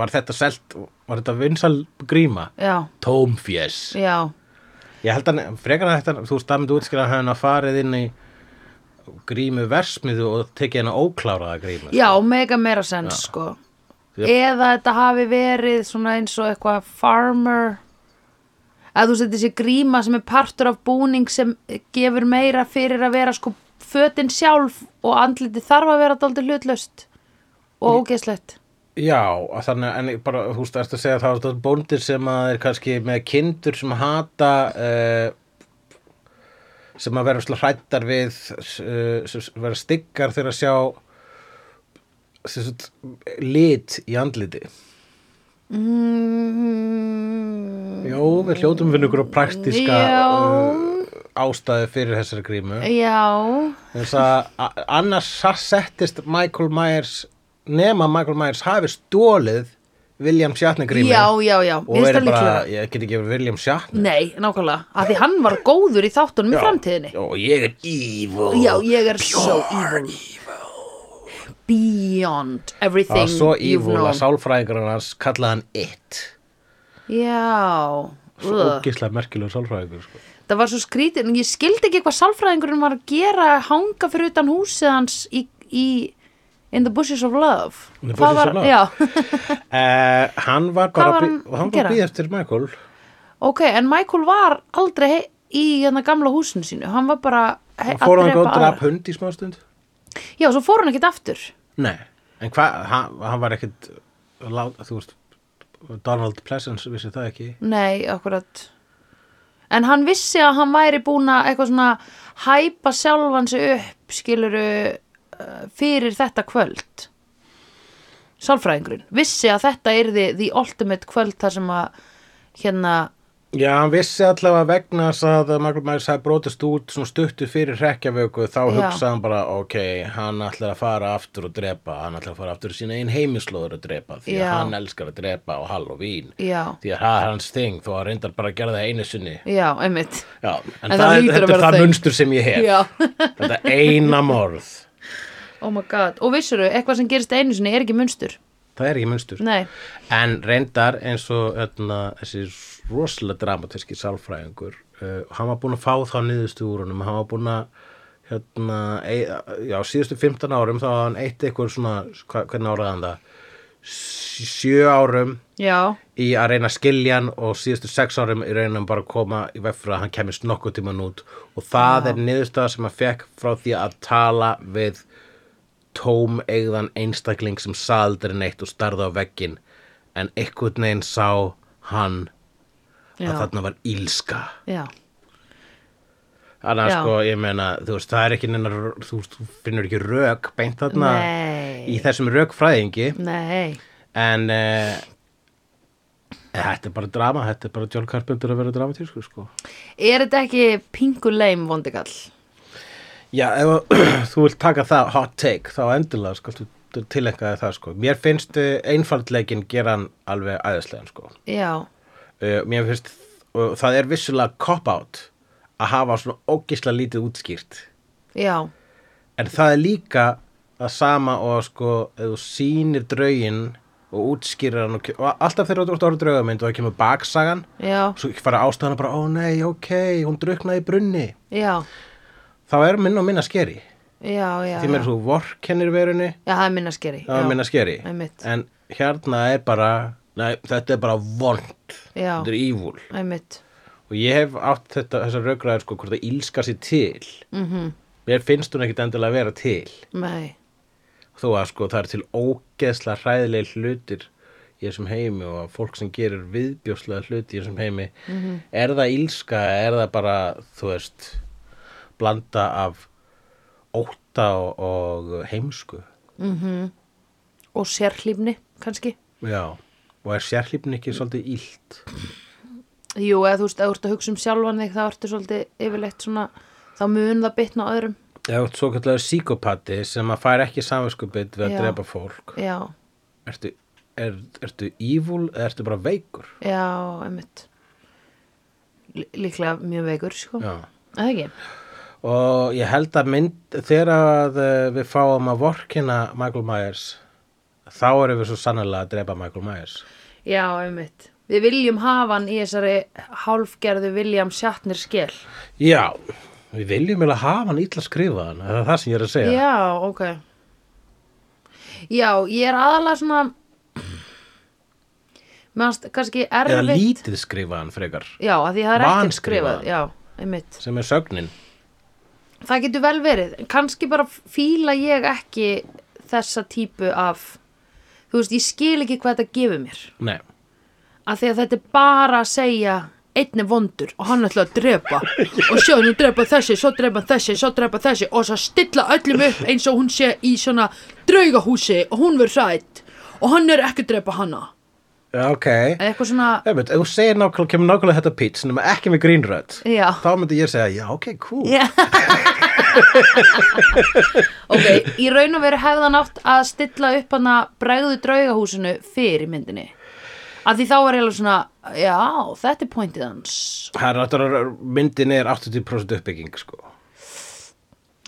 Speaker 2: var þetta selt var þetta vinsal gríma
Speaker 1: Já,
Speaker 2: tómfjess
Speaker 1: já,
Speaker 2: Ég held að frekar að þetta, þú veist, það myndi útskýra að hann að farið inn í grímu versmiðu og tekið hennar ókláraða grímu. sko.
Speaker 1: já, mega meira sens sko
Speaker 2: Jep.
Speaker 1: Eða þetta hafi verið svona eins og eitthvað farmer að þú setur þessi gríma sem er partur af búning sem gefur meira fyrir að vera sko fötin sjálf og andliti þarf að vera dálítið hlutlaust og ógeðslegt
Speaker 2: Já, að þannig, en ég bara, þú veist, ertu að segja að það er bóndir sem að er kannski með kindur sem hata, uh, sem að vera slá hrættar við, uh, sem vera styggar þegar að sjá sem sagt, lit í andliti.
Speaker 1: mm,
Speaker 2: Jó, við hljótum við ykkur á praktíska
Speaker 1: Já.
Speaker 2: uh, ástæðu fyrir þessari grímu.
Speaker 1: Já,
Speaker 2: þess að a- annars settist Michael Myers nema Michael Myers hafi stólið William Shatner grími
Speaker 1: já, já, já
Speaker 2: og
Speaker 1: Mér
Speaker 2: verið
Speaker 1: finnst það
Speaker 2: bara,
Speaker 1: líklegra.
Speaker 2: ég get ekki verið William Shatner
Speaker 1: Nei, nákvæmlega, af því hann var góður í þáttunum í Mm, framtíðinni
Speaker 2: og ég er evil
Speaker 1: Já, ég er so evil. Beyond
Speaker 2: það
Speaker 1: everything
Speaker 2: var svo
Speaker 1: you've
Speaker 2: Ah, evil
Speaker 1: known.
Speaker 2: að sálfræðingarinn hans kallaði hann it
Speaker 1: Já.
Speaker 2: svo
Speaker 1: ugh.
Speaker 2: ógislega merkilega sálfræðingur
Speaker 1: *laughs*
Speaker 2: sko.
Speaker 1: Það var svo skrítið, en ég skildi ekki hvað sálfræðingurinn var að gera að hanga fyrir utan húsið hans í, í In the Bushes of Love.
Speaker 2: In the Bushes
Speaker 1: Hvað
Speaker 2: of
Speaker 1: var-
Speaker 2: Love?
Speaker 1: Já,
Speaker 2: uh, hann var
Speaker 1: Hvað
Speaker 2: bara
Speaker 1: var
Speaker 2: að
Speaker 1: hann
Speaker 2: bí- hann
Speaker 1: að
Speaker 2: var
Speaker 1: gera?
Speaker 2: býð eftir Michael
Speaker 1: ok, en Michael var aldrei he- í hérna gamla húsinu sínu, hann var bara he-
Speaker 2: hann fór
Speaker 1: að
Speaker 2: hann
Speaker 1: drepa
Speaker 2: góð drap
Speaker 1: aðra.
Speaker 2: hund í smástund
Speaker 1: Já, svo fór hann ekkert aftur.
Speaker 2: nei, en hvað, hann, hann var ekkit lát- þú veist Donald Pleasance vissi það ekki
Speaker 1: Nei, akkurat En hann vissi að hann væri búin að eitthvað svona hæpa sjálfan sig upp skiluru uh, fyrir þetta kvöld Sálfræðingurinn vissi að þetta yrði the ultimate kvöld þar sem að hérna,
Speaker 2: Já, hann vissi allavega vegna þess að Michael Myers hafði brotist út svona stuttu fyrir hrekkjavöku þá
Speaker 1: Já.
Speaker 2: hugsaði hann bara, ok, hann ætlar að fara aftur og drepa, hann ætlar að fara aftur í sína einn heimislóður að drepa því að
Speaker 1: Já.
Speaker 2: hann elskar að drepa á Halloween
Speaker 1: já,
Speaker 2: því að það er hans þing þó að hann reyndar bara að gera það einu sinni
Speaker 1: já, einmitt
Speaker 2: Já, en,
Speaker 1: En
Speaker 2: það,
Speaker 1: það
Speaker 2: er,
Speaker 1: hlýtur að
Speaker 2: þetta er
Speaker 1: vera
Speaker 2: það
Speaker 1: þing.
Speaker 2: munstur sem ég hef
Speaker 1: Já,
Speaker 2: þetta eina morð
Speaker 1: *laughs* oh my god Og vissuru, eitthvað sem gerist einu sinni er ekki munstur
Speaker 2: það er ekki munstur
Speaker 1: Nei,
Speaker 2: En reyndar eins og öðna, þessi rosalega dramatíski sálfræðingur, uh, hann var búinn að fá þá niðurstu úr honum, hann var búinn að hérna, e, já, síðustu 15 árum þá var hann eitt eitthvað svona, hva, hvernig áraði hann það, sjö árum
Speaker 1: já,
Speaker 2: í að reyna að skilja hann og síðustu sex árum í reyna bara að koma í veg fyrir að hann kemist nokkuð tíman út og það er niðurstaða sem hann fekk frá því að tala við tóm eigðan einstakling sem saðaldur neitt og starði á veggin en einhvern veginn sá hann
Speaker 1: já,
Speaker 2: að þarna var ílska
Speaker 1: já
Speaker 2: Þannig að
Speaker 1: Já.
Speaker 2: sko, ég meina, þú veist, það er ekki neina, þú, veist, þú finnur ekki rök beint þarna
Speaker 1: Nei,
Speaker 2: í þessum rökfræðingi
Speaker 1: nei
Speaker 2: en uh, þetta er bara drama þetta er bara John Carpenter að vera dramatísku sko.
Speaker 1: Er þetta ekki pingu leim vondikall?
Speaker 2: já, ef að- *clears throat* þú vilt taka það hot take, þá endilega sko, tilengjaði það sko. mér finnst eh, einfaldleikin gera hann alveg æðislegan sko.
Speaker 1: Já,
Speaker 2: uh, mér finnst og það er vissulega cop-out að hafa svona ógisla lítið útskýrt
Speaker 1: já
Speaker 2: en það er líka það sama og sko, ef þú sýnir draugin og útskýrir hann og, ke- og alltaf þegar þú ert að horfa á draugamynd og það kemur baksagan
Speaker 1: já,
Speaker 2: svo fara ástæðan bara, ó nei, ok, hún druknaði í brunni
Speaker 1: já,
Speaker 2: þá er minna og minna skeri
Speaker 1: já, já.
Speaker 2: því mér
Speaker 1: já.
Speaker 2: er svo vorkennir verunni
Speaker 1: Já, það er minna skeri.
Speaker 2: það er minna skeri
Speaker 1: Einmitt.
Speaker 2: en hérna er bara, nei, þetta er bara vond
Speaker 1: Já.
Speaker 2: þetta er ívúl
Speaker 1: Einmitt.
Speaker 2: og ég hef átt þetta, þessar raugræður sko, hvort það ílska sér til mm
Speaker 1: Mhm.
Speaker 2: -hmm. mér finnst hún ekkit endilega vera til
Speaker 1: Nei.
Speaker 2: þó að sko það er til ógeðsla hræðileg hlutir í þessum heimi og að fólk sem gerir viðbjóslega hluti í þessum heimi er það ílska, er það bara þú veist, blanda af óta og, og heimsku
Speaker 1: Og sérhlýfni, kannski.
Speaker 2: já, og er sérhlífn ekki svolítið ílt
Speaker 1: Jú, eða þú veist, ef þú ert að hugsa um sjálfan þig, þá ertu svolítið yfirleitt svona, þá mun það bitna á öðrum.
Speaker 2: eða út svo kallar síkopati sem að fær ekki samvinskupið við að
Speaker 1: Já.
Speaker 2: drepa fólk
Speaker 1: Já,
Speaker 2: ertu, er, ertu evil eða ertu bara veikur
Speaker 1: já, einmitt. L líklega mjög veikur, sko.
Speaker 2: já
Speaker 1: Er Það ekki?
Speaker 2: Og ég held að mynd, þegar að eh, við fáum að vorkina Michael Myers, þá erum við svo sannlega að drepa Michael Myers.
Speaker 1: Já, einmitt. Við viljum hafa hann í þessari hálfgerðu William Shatner skell.
Speaker 2: Já, við viljum eiginlega hafa hann illa skrifaðan, það er það sem ég er að segja.
Speaker 1: Já, ok. Já, ég er aðalega svona, meðanst kannski
Speaker 2: Eða
Speaker 1: erfitt.
Speaker 2: lítið skrifaðan frekar,
Speaker 1: Já, að því það er ekkert
Speaker 2: Vanskrifað.
Speaker 1: skrifað. Já, einmitt.
Speaker 2: sem er sögnin.
Speaker 1: Það getur vel verið. Kannski bara fíla ég ekki þessa típu af, þú veist, ég skil ekki hvað þetta gefur mér.
Speaker 2: Nei,
Speaker 1: Að því að þetta er bara að segja einn er vondur og hann ætla að drepa og sjá nú drepa þessi, svo drepa þessi, svo drepa þessi og svo stilla öllum upp eins og hún sé í svona draugahúsi og hún verður sætt og hann er ekki að drepa hana.
Speaker 2: Já, ok.
Speaker 1: Eða eitthvað svona,
Speaker 2: Einmitt, ef þú segir nákvæmlega, kemur nákvæmlega þetta pitch, nema ekki með grínrödd,
Speaker 1: Já.
Speaker 2: þá myndi ég segja, já, ok, cool.
Speaker 1: Já. ok, í raun og veru hefðan átt að stilla upp hana bregðu draugahúsinu fyrir myndinni. Að því þá var ég alveg svona, já, þetta er pointið hans.
Speaker 2: Það er náttúrulega, myndin er 80% uppbygging, sko.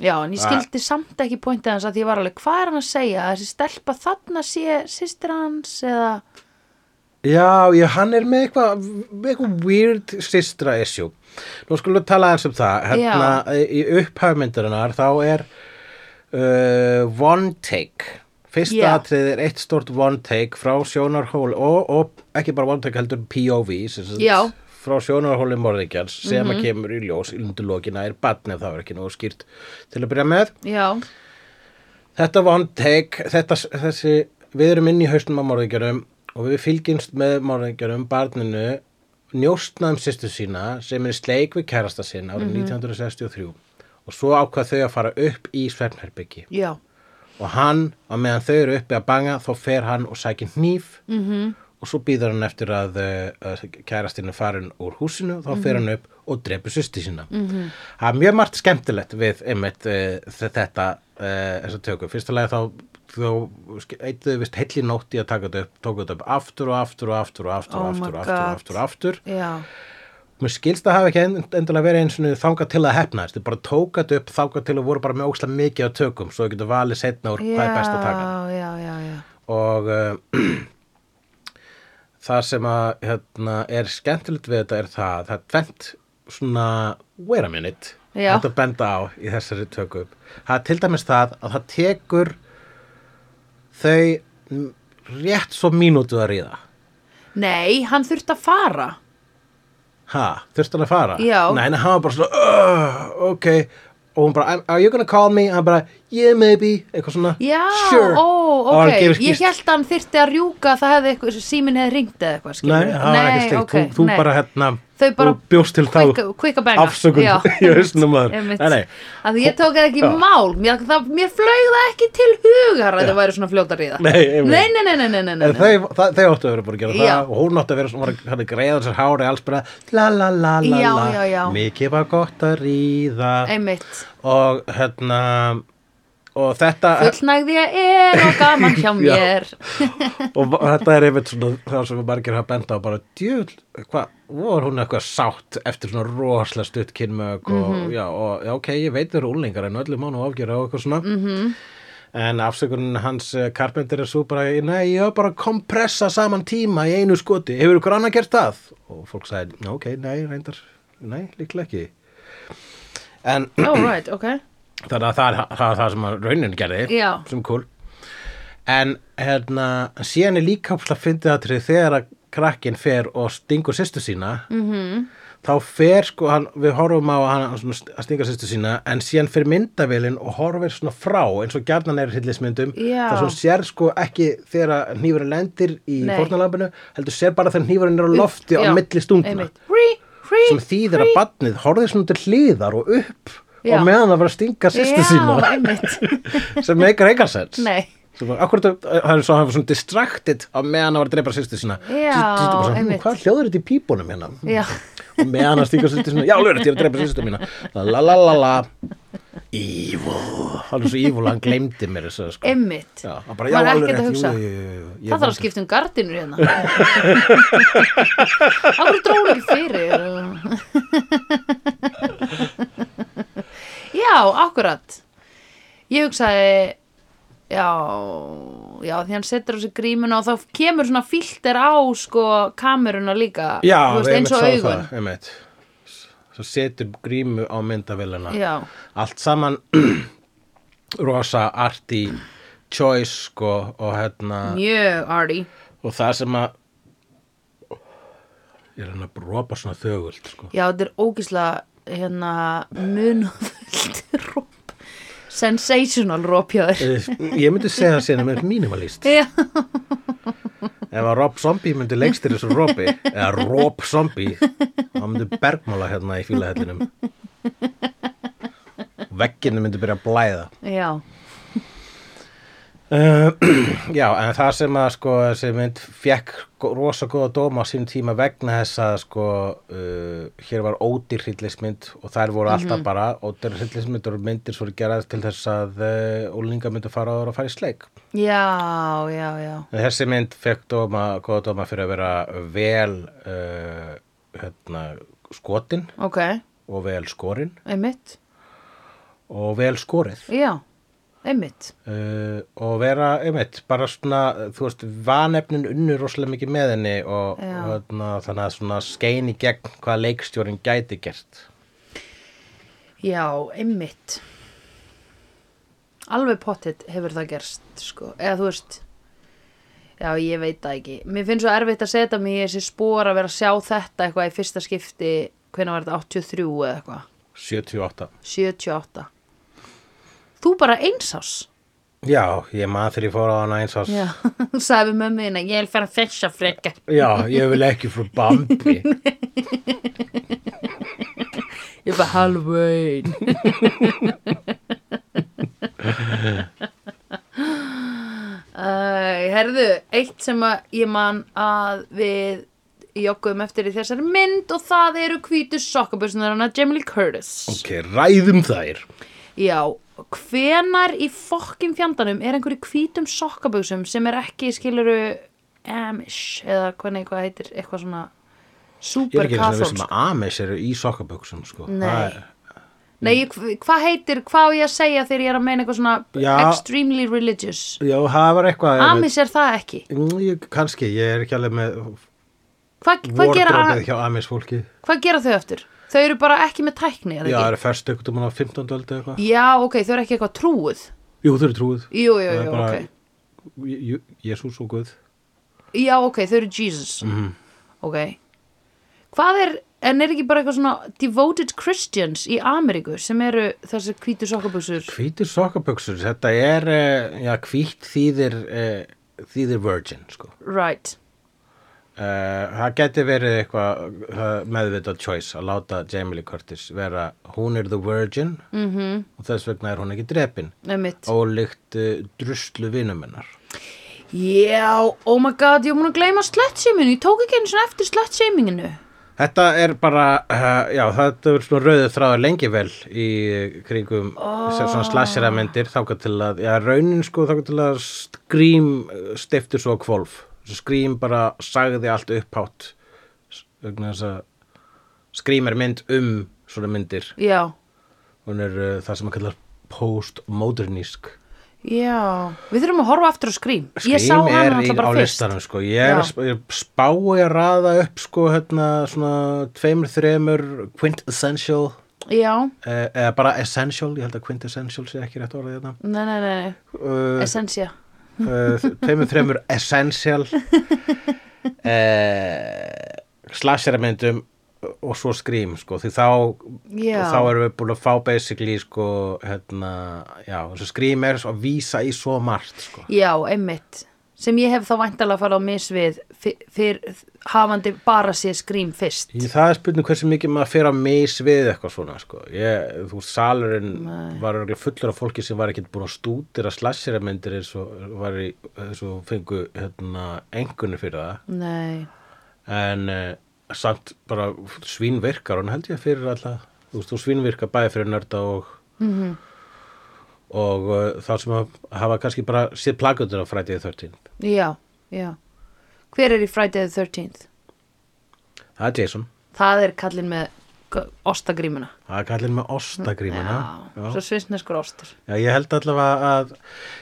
Speaker 1: Já, en ég skildi samt ekki pointið hans að því ég var alveg, hvað er hann að segja? Að Þessi stelpa þarna sé sýstir hans eða...
Speaker 2: Já, já, hann er með eitthvað með eitthvað weird systra issue Nú skulum við tala eins um það hérna, í upphafmyndarinnar þá er uh, one take Fyrsta
Speaker 1: Já.
Speaker 2: atrið er eitt stort one take frá sjónarhóli og, og ekki bara one take heldur POV sem sagt,
Speaker 1: Já. Mhm.
Speaker 2: frá sjónarhóli morðingjans sem að kemur í ljós í lundulókina er batn ef það er ekki nógu skýrt til að byrja með
Speaker 1: Já,
Speaker 2: Þetta var one take, þetta, þessi, við erum inn í haustum á morðingjörum og við fylgjumst með morðingjörum, barninu, njóstnaðum sýstu sína sem er í sleik við kærasta sinna árið 1963 og svo ákvað þau að fara upp í svefnherbyggi
Speaker 1: já,
Speaker 2: og hann, á meðan þau eru uppi að banga, þá fer hann og sækir hníf
Speaker 1: Mhm.
Speaker 2: -hmm. og svo býður hann eftir að, uh, að kærastinn er farin úr húsinu, þá
Speaker 1: Mhm.
Speaker 2: fer hann upp og drepur sýstu sína. -hmm. Það er mjög margt skemmtilegt við einmitt uh, þetta, uh, þessa tökum. Fyrsta lagi þá þá eittuðu vist heilli nótt í að taka þetta upp, tóku þetta upp aftur og aftur og aftur og aftur og
Speaker 1: Oh my
Speaker 2: aftur og aftur
Speaker 1: God.
Speaker 2: og aftur og aftur
Speaker 1: já,
Speaker 2: Mér skilst að hafa ekki end- endilega verið eins og þangað til að hefnaðist, þið bara tók þetta upp þangað til að voru bara með ókslega mikið að tökum svo þau getur valið setna úr hvað er best að taka
Speaker 1: já, já, já, já,
Speaker 2: og uh, *clears throat* það sem að hérna, er skemmtilegt við þetta er það að það er tvent svona wait a minute
Speaker 1: Já.
Speaker 2: hægt að benda á í þessari tökum það er til dæmis það að það tekur þau mm, rétt svo mínútu að ríða
Speaker 1: Nei, hann þurfti að fara.
Speaker 2: Ha, þurfti hann að fara?
Speaker 1: Já.
Speaker 2: Nei, en hann var bara svona, uh, ok, og hún bara, "I'm- are you gonna call me? Hann bara, yeah, maybe, eitthvað svona.
Speaker 1: Já,
Speaker 2: sure.
Speaker 1: ó,
Speaker 2: Og hann gefur
Speaker 1: ok, ég
Speaker 2: skýrt.
Speaker 1: held að hann þyrfti að rjúka að það hefði eitthvað, síminn hefði ringt eða eitthvað, skilur
Speaker 2: Nei, það var ekki slikt, þú, þú bara hérna,
Speaker 1: Þau bara
Speaker 2: þú bjóst til þá
Speaker 1: kvika- kvika benga.
Speaker 2: afsökun
Speaker 1: Já,
Speaker 2: *laughs* í hausnum að þér.
Speaker 1: *laughs* Einmitt.
Speaker 2: Nei, nei,
Speaker 1: Af því ég tók það ekki í
Speaker 2: Já.
Speaker 1: mál, mér, það, mér flög það ekki til hugar að það væri svona fljótar í það.
Speaker 2: Nei, einmitt.
Speaker 1: nei, nei, nei, nei, nei, nei,
Speaker 2: En
Speaker 1: nei.
Speaker 2: þau, það, þau áttu að vera búin að gera
Speaker 1: Já.
Speaker 2: það og hún áttu að vera svona hann að greiða sér hári alls bara la la la la
Speaker 1: Já,
Speaker 2: la
Speaker 1: já, já.
Speaker 2: mikið var gott að ríða
Speaker 1: Einmitt,
Speaker 2: og hérna og þetta
Speaker 1: fullnægði ég er og gaman hjá
Speaker 2: *laughs* Já.
Speaker 1: mér.
Speaker 2: og þetta er einmitt svona það sem margir hafa benda á bara djöl, hvað, voru hún eitthvað sátt eftir svona rosalega stutt kynmög og, já, og já, ok, ég veit þeir eru úlingar en öllum mánu áfgjöra og eitthvað svona mm -hmm. en afsökunin hans eh, Carpenter er svo bara, nei, ég var bara að kompressa saman tíma í einu skoti, hefur ykkur annað gert það? Og fólk sagði, "Já, ok, nei, reyndar, nei, líklega ekki. En
Speaker 1: All right, ok.
Speaker 2: þannig að það er það, það, það sem að raunin gerði,
Speaker 1: Já.
Speaker 2: sem kúl. En hérna, síðan er líka að fyndið aðtrið þegar að krakkin fer og stingur sýstu sína,
Speaker 1: Mhm.
Speaker 2: þá fer sko, hann, við horfum á hann hann svona st- að stinga sýstu sína en síðan fer myndavélinn og horfir svona frá eins og gjarnan er í hillismyndum
Speaker 1: Já.
Speaker 2: þar sem hún sér sko ekki þegar hnífurinn lendir í
Speaker 1: Nei.
Speaker 2: fórnalambinu heldur sér bara þegar hnífurinn er á lofti á
Speaker 1: Já,
Speaker 2: milli stungna
Speaker 1: einmitt. Hrí, hrí,
Speaker 2: sem þýðir að
Speaker 1: hrí.
Speaker 2: badnið horfir svona til hliðar og upp
Speaker 1: Já.
Speaker 2: og meðan það var að stinga sýstu
Speaker 1: Já,
Speaker 2: sína
Speaker 1: einmitt.
Speaker 2: sem meikar eigarsens
Speaker 1: Nei.
Speaker 2: Akkur það það er svo hann var svona distracted á meðan hann var að dreipa sýstu sína
Speaker 1: Já,
Speaker 2: Bara svona, hm,
Speaker 1: einmitt.
Speaker 2: Hvað hljóður þetta í pípunum hérna?
Speaker 1: Já.
Speaker 2: og meðan að stíka sýstu sinna já, lögur, ég er að drepa sýstu mína la la la la evil hann er svo evil, hann gleymdi mér þessu sko.
Speaker 1: Einmitt.
Speaker 2: já, hann bara, já,
Speaker 1: Maður er
Speaker 2: alveg
Speaker 1: ekkert að
Speaker 2: rétt,
Speaker 1: hugsa.
Speaker 2: jú, jú, jú, jú, jú, ég
Speaker 1: Það þarf að
Speaker 2: veit
Speaker 1: skipta um gardinur
Speaker 2: *laughs*
Speaker 1: hérna. Akkur dróður ekki fyrir. já, akkurat. Ég hugsaði, já, já, því hann setur á sig grímuna og þá kemur svona filter á, sko, kameruna líka.
Speaker 2: það. já,
Speaker 1: Þú veist,
Speaker 2: einmitt,
Speaker 1: eins og
Speaker 2: sá
Speaker 1: augun.
Speaker 2: það, einmitt svo setur grímu á myndavélina
Speaker 1: Já,
Speaker 2: allt saman *clears throat* rosa arti choice sko og hérna
Speaker 1: mjög arty.
Speaker 2: og það sem að ég er hann að bropa svona þögult sko
Speaker 1: Já, þetta er ógislega hérna munafullt *laughs* róp sensational róp hjá þér
Speaker 2: Eh, ég myndi segja það síðan að mér er mínimalist
Speaker 1: Já,
Speaker 2: *laughs* Ef að Rob Zombie myndi leikstýri þessu
Speaker 1: *laughs*
Speaker 2: Robi eða Rob Zombie þá myndi bergmála hérna í fílahellinum
Speaker 1: *laughs*
Speaker 2: vegginu myndi byrja að blæða
Speaker 1: já,
Speaker 2: uh, *clears throat* Já, en það sem að sko, þessi mynd fekk go- rosa góða dóma á sínum tíma vegna þess að sko, uh, hér var ódýr hryllismynd og þær voru alltaf bara ódýr hryllismynd og myndir svo gerað til þess að uh, úlinga myndi fara áður og fara í sleik
Speaker 1: já, já, já
Speaker 2: En Þessi mynd fekk dóma, góða dóma fyrir að vera vel uh, hérna, skotin
Speaker 1: Ok,
Speaker 2: og vel skorinn
Speaker 1: einmitt
Speaker 2: og vel skorið
Speaker 1: Já, einmitt
Speaker 2: uh, og vera, einmitt, bara svona þú veist, vanefnin unnur rosalega mikið með henni og,
Speaker 1: Já.
Speaker 2: og hérna, þannig að svona skein í gegn hvað leikstjórin gæti gert
Speaker 1: Já, einmitt Alveg pottitt hefur það gerst sko, eða þú veist Já, ég veit það ekki Mér finnst svo erfitt að setja mig í þessi spór að vera að sjá þetta eitthvað í fyrsta skipti hvenær var þetta 83 eða eitthvað
Speaker 2: 78
Speaker 1: 78 Þú bara einsás
Speaker 2: Já, ég maður þegar ég fór á hana eins og
Speaker 1: Já, þú *laughs* sagði við mömmu þína Ég vil fara að fessa frekar
Speaker 2: Já, ég vil ekki frá
Speaker 1: *laughs*
Speaker 2: Bambi
Speaker 1: Ég bara halvvein Æ, Herðu, eitt sem að ég man að við jogguðum eftir í þessari mynd og það eru hvítu sokkabössunar hana Jamie Lee Curtis
Speaker 2: Ok, ræðum þær
Speaker 1: Já, hvenar í fokkin fjandanum er einhverju hvítum sokkaböksum sem er ekki skiluru Amish eða hvernig eitthvað heitir eitthvað svona
Speaker 2: Ég er
Speaker 1: super
Speaker 2: ekki eins og vissum
Speaker 1: katholsk
Speaker 2: um að Amish eru í sokkaböksum sko.
Speaker 1: Nei.
Speaker 2: Það er-
Speaker 1: Nei,
Speaker 2: Mm.
Speaker 1: ég- hvað heitir, hvað á ég að segja þegar ég er að meina eitthvað svona
Speaker 2: Já.
Speaker 1: extremely religious
Speaker 2: Já, það var eitthvað
Speaker 1: Amish er það ekki
Speaker 2: Mm, Ég, kannski, ég er ekki alveg með
Speaker 1: Hvað hva gera,
Speaker 2: vordrópið hjá Amis fólki
Speaker 1: hvað gera þau eftir? Þau eru bara ekki með tækni,
Speaker 2: Já,
Speaker 1: er
Speaker 2: það
Speaker 1: það
Speaker 2: eru
Speaker 1: ekki?
Speaker 2: fyrst einhvern tímann á 15. öldu eitthvað
Speaker 1: Já, ok, þau eru ekki eitthvað trúið
Speaker 2: Jú, þau eru trúið
Speaker 1: Jú, jú,
Speaker 2: Það er
Speaker 1: jú,
Speaker 2: bara-
Speaker 1: ok
Speaker 2: J- J- Jesús og Guð
Speaker 1: Já, ok, þau eru Jesus
Speaker 2: Mhm.
Speaker 1: Ok Hvað er, en er ekki bara eitthvað svona devoted Christians í Ameríku sem eru þessar hvítu sokkaböksur
Speaker 2: Hvítir sokkaböksur, þetta er eh, já, hvít þýðir eh, þýðir virgin, sko
Speaker 1: Right
Speaker 2: Eh, Það geti verið eitthvað eh, meðvitað choice að láta Jamie Lee Curtis vera hún er the virgin
Speaker 1: mm -hmm.
Speaker 2: og þess vegna er hún ekki drepin ólíkt uh, druslu vinumennar
Speaker 1: Já, oh my god, ég er múin að gleyma slutshaminginu Ég tók ekki einu svona eftir slutshaminginu
Speaker 2: Þetta er bara, uh, já, þetta er svona rauðið þráður lengi vel í kringum oh. svona slasheramendir þáka til að, já, raunin sko þáka til að skrím stiftur svo kvolf. Skrím bara sagði allt upphátt S- vegna þess að skrím er mynd um svona myndir. eh,
Speaker 1: Já,
Speaker 2: Hún er uh, það sem að kalla postmodernísk.
Speaker 1: Já, við þurfum að horfa aftur á skrím. Ég sá
Speaker 2: Skrím
Speaker 1: hann
Speaker 2: er í,
Speaker 1: alltaf
Speaker 2: á
Speaker 1: bara fyrst.
Speaker 2: listanum sko. ég, er að
Speaker 1: Já.
Speaker 2: sp- ég spái að raða upp sko, hérna, svona tveimur, þremur quintessential
Speaker 1: Já,
Speaker 2: eh, eða bara essential, ég held að quintessential sé ekki rétt orðið hérna. þetta
Speaker 1: nei, nei, nei, nei.
Speaker 2: uh,
Speaker 1: Essentia.
Speaker 2: uh, tveimur, þremur essential eh, slashermyndum og svo skrím sko, því þá,
Speaker 1: Já.
Speaker 2: þá erum við búin að fá basically sko, hérna, já, þessu skrím er svo að vísa í svo margt sko.
Speaker 1: Já, einmitt. Sem ég hef þá væntalega að fara á misvið fyrr hafandi bara sé skrím fyrst.
Speaker 2: Í það er spurning hversu mikið maður fer að mis við eitthvað svona sko. ég, þú veist, salurinn
Speaker 1: Nei.
Speaker 2: var örugglega fullur af fólki sem var ekkert búin að stúdira slashermyndir eins og, var í, eins og fengu hérna, engunni fyrir það
Speaker 1: Nei,
Speaker 2: en uh, samt bara svínvirkar hún held ég fyrir alltaf þú veist, þú svínvirkar bæði fyrir nörda og mm -hmm. og uh, þá sem að hafa kannski bara séð plagundur á frætið 13
Speaker 1: já, já. Hver er í Friday the 13th?
Speaker 2: það er Jason,
Speaker 1: Það er kallinn með g- ostagrímuna.
Speaker 2: það er kallinn með ostagrímuna
Speaker 1: Já, svo svinsneskur ostur.
Speaker 2: Já, ég held allavega að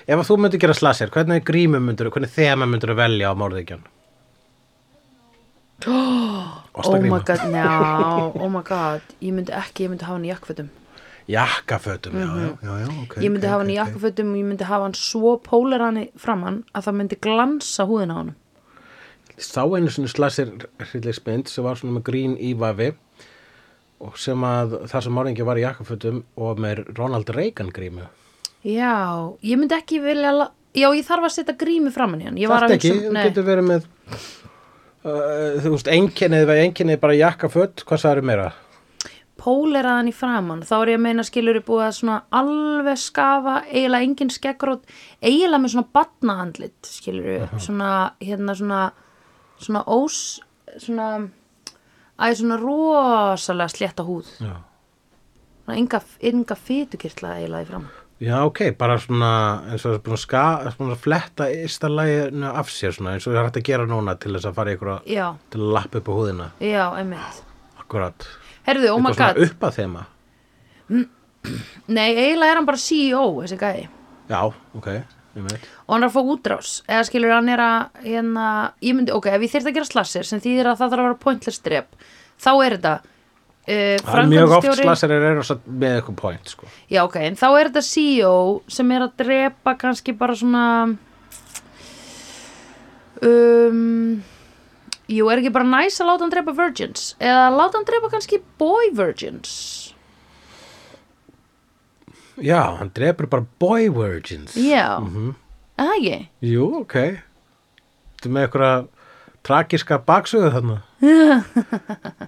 Speaker 2: ef að þú myndir gera slasir, hvernig grímum myndir hvernig þema myndir að velja á morðingjan?
Speaker 1: *gasps*
Speaker 2: Oh,
Speaker 1: Oh my
Speaker 2: *laughs*
Speaker 1: god, já, oh my god. Ég myndi ekki, ég myndi hafa hann í jakkfötum.
Speaker 2: Jakkafötum, já, já, já, já, ok.
Speaker 1: Mhm. Ég myndi
Speaker 2: ok,
Speaker 1: hafa hann
Speaker 2: ok,
Speaker 1: í
Speaker 2: ok.
Speaker 1: jakkafötum og ég myndi hafa hann svo pólar hann framann að það myndi glansa húðin á hann.
Speaker 2: sá einu svona slasir hryllingsmynd sem var svona með grín í vafi og sem að það sem morðingi var í jakkafötum og með Ronald Reagan grímu
Speaker 1: Já, ég myndi ekki vilja, la- já, ég þarf að setja grími framann í hann. Ég var
Speaker 2: Þetta
Speaker 1: að
Speaker 2: ekki,
Speaker 1: hugsa um-
Speaker 2: þú
Speaker 1: nei.
Speaker 2: getur verið með uh, þú veist, einkennið var einkennið bara jakkaföt, hvað sagður meira?
Speaker 1: póleraðan í framann þá er ég að meina skilur búið að svona alveg skafa, eiginlega engin skeggrót eiginlega með svona batnahandlit skilur svona hérna svona, svona ós svona æ, svona rosalega slétta húð
Speaker 2: Já.
Speaker 1: svona enga, enga fytukirtla eiginlega í framann
Speaker 2: Já, ok, bara svona eins og það er búin að, ska, búin að fletta ysta læginu af sér svona eins og það er hægt að gera núna til þess að fara í einhverja
Speaker 1: já,
Speaker 2: til að lappa upp á húðina
Speaker 1: já, einmitt
Speaker 2: akkurat,
Speaker 1: herðu, oh my god,
Speaker 2: svona upp að þema
Speaker 1: nei, eiginlega er hann bara CEO þessi gæði
Speaker 2: Já, ok, ég veit
Speaker 1: og hann er að fá útrás eða skilur hann er að hérna, ég myndi, ok, ef ég þyrfti að gera slassir sem þýðir að það þarf að vera pointless drep þá er þetta uh,
Speaker 2: Það er mjög oft
Speaker 1: framkvæmdastjóri-
Speaker 2: slasarir eru samt með eitthvað point sko.
Speaker 1: já, ok, en þá er þetta CEO sem er að drepa kannski bara svona um jú, er ekki bara næs að láta hann drepa virgins eða láta hann drepa kannski boy virgins
Speaker 2: Já, hann drefur bara boy virgins
Speaker 1: já,
Speaker 2: Mhm.
Speaker 1: eða ekki
Speaker 2: Jú, ok Þetta er með einhverja tragiska baksöðu
Speaker 1: *laughs*
Speaker 2: þarna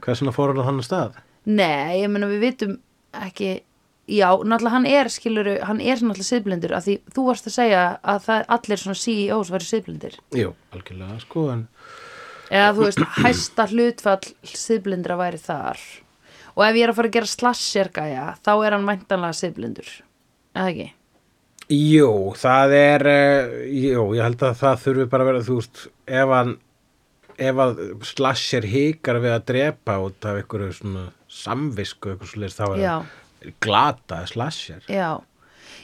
Speaker 2: Hversna fór hann á þannig stað?
Speaker 1: Nei, ég meina við vitum ekki Já, náttúrulega hann er skiluru hann er náttúrulega siðblindur af því þú varst að segja að það, allir svona CEOs væri siðblindir
Speaker 2: Jú, algjörlega sko en
Speaker 1: eða þú veist, hæsta hlutfall siðblindra væri þar og ef ég er að fara að gera slasher gæja þá er hann væntanlega siðblindur eða ekki?
Speaker 2: Jú, það er eh, Jú, ég held að það þurfi bara að vera þú veist, ef hann ef að slasher hikar við að drepa út af einhverju svona samvisku, einhverju slis, þá er
Speaker 1: Já.
Speaker 2: hann glata slasher
Speaker 1: Já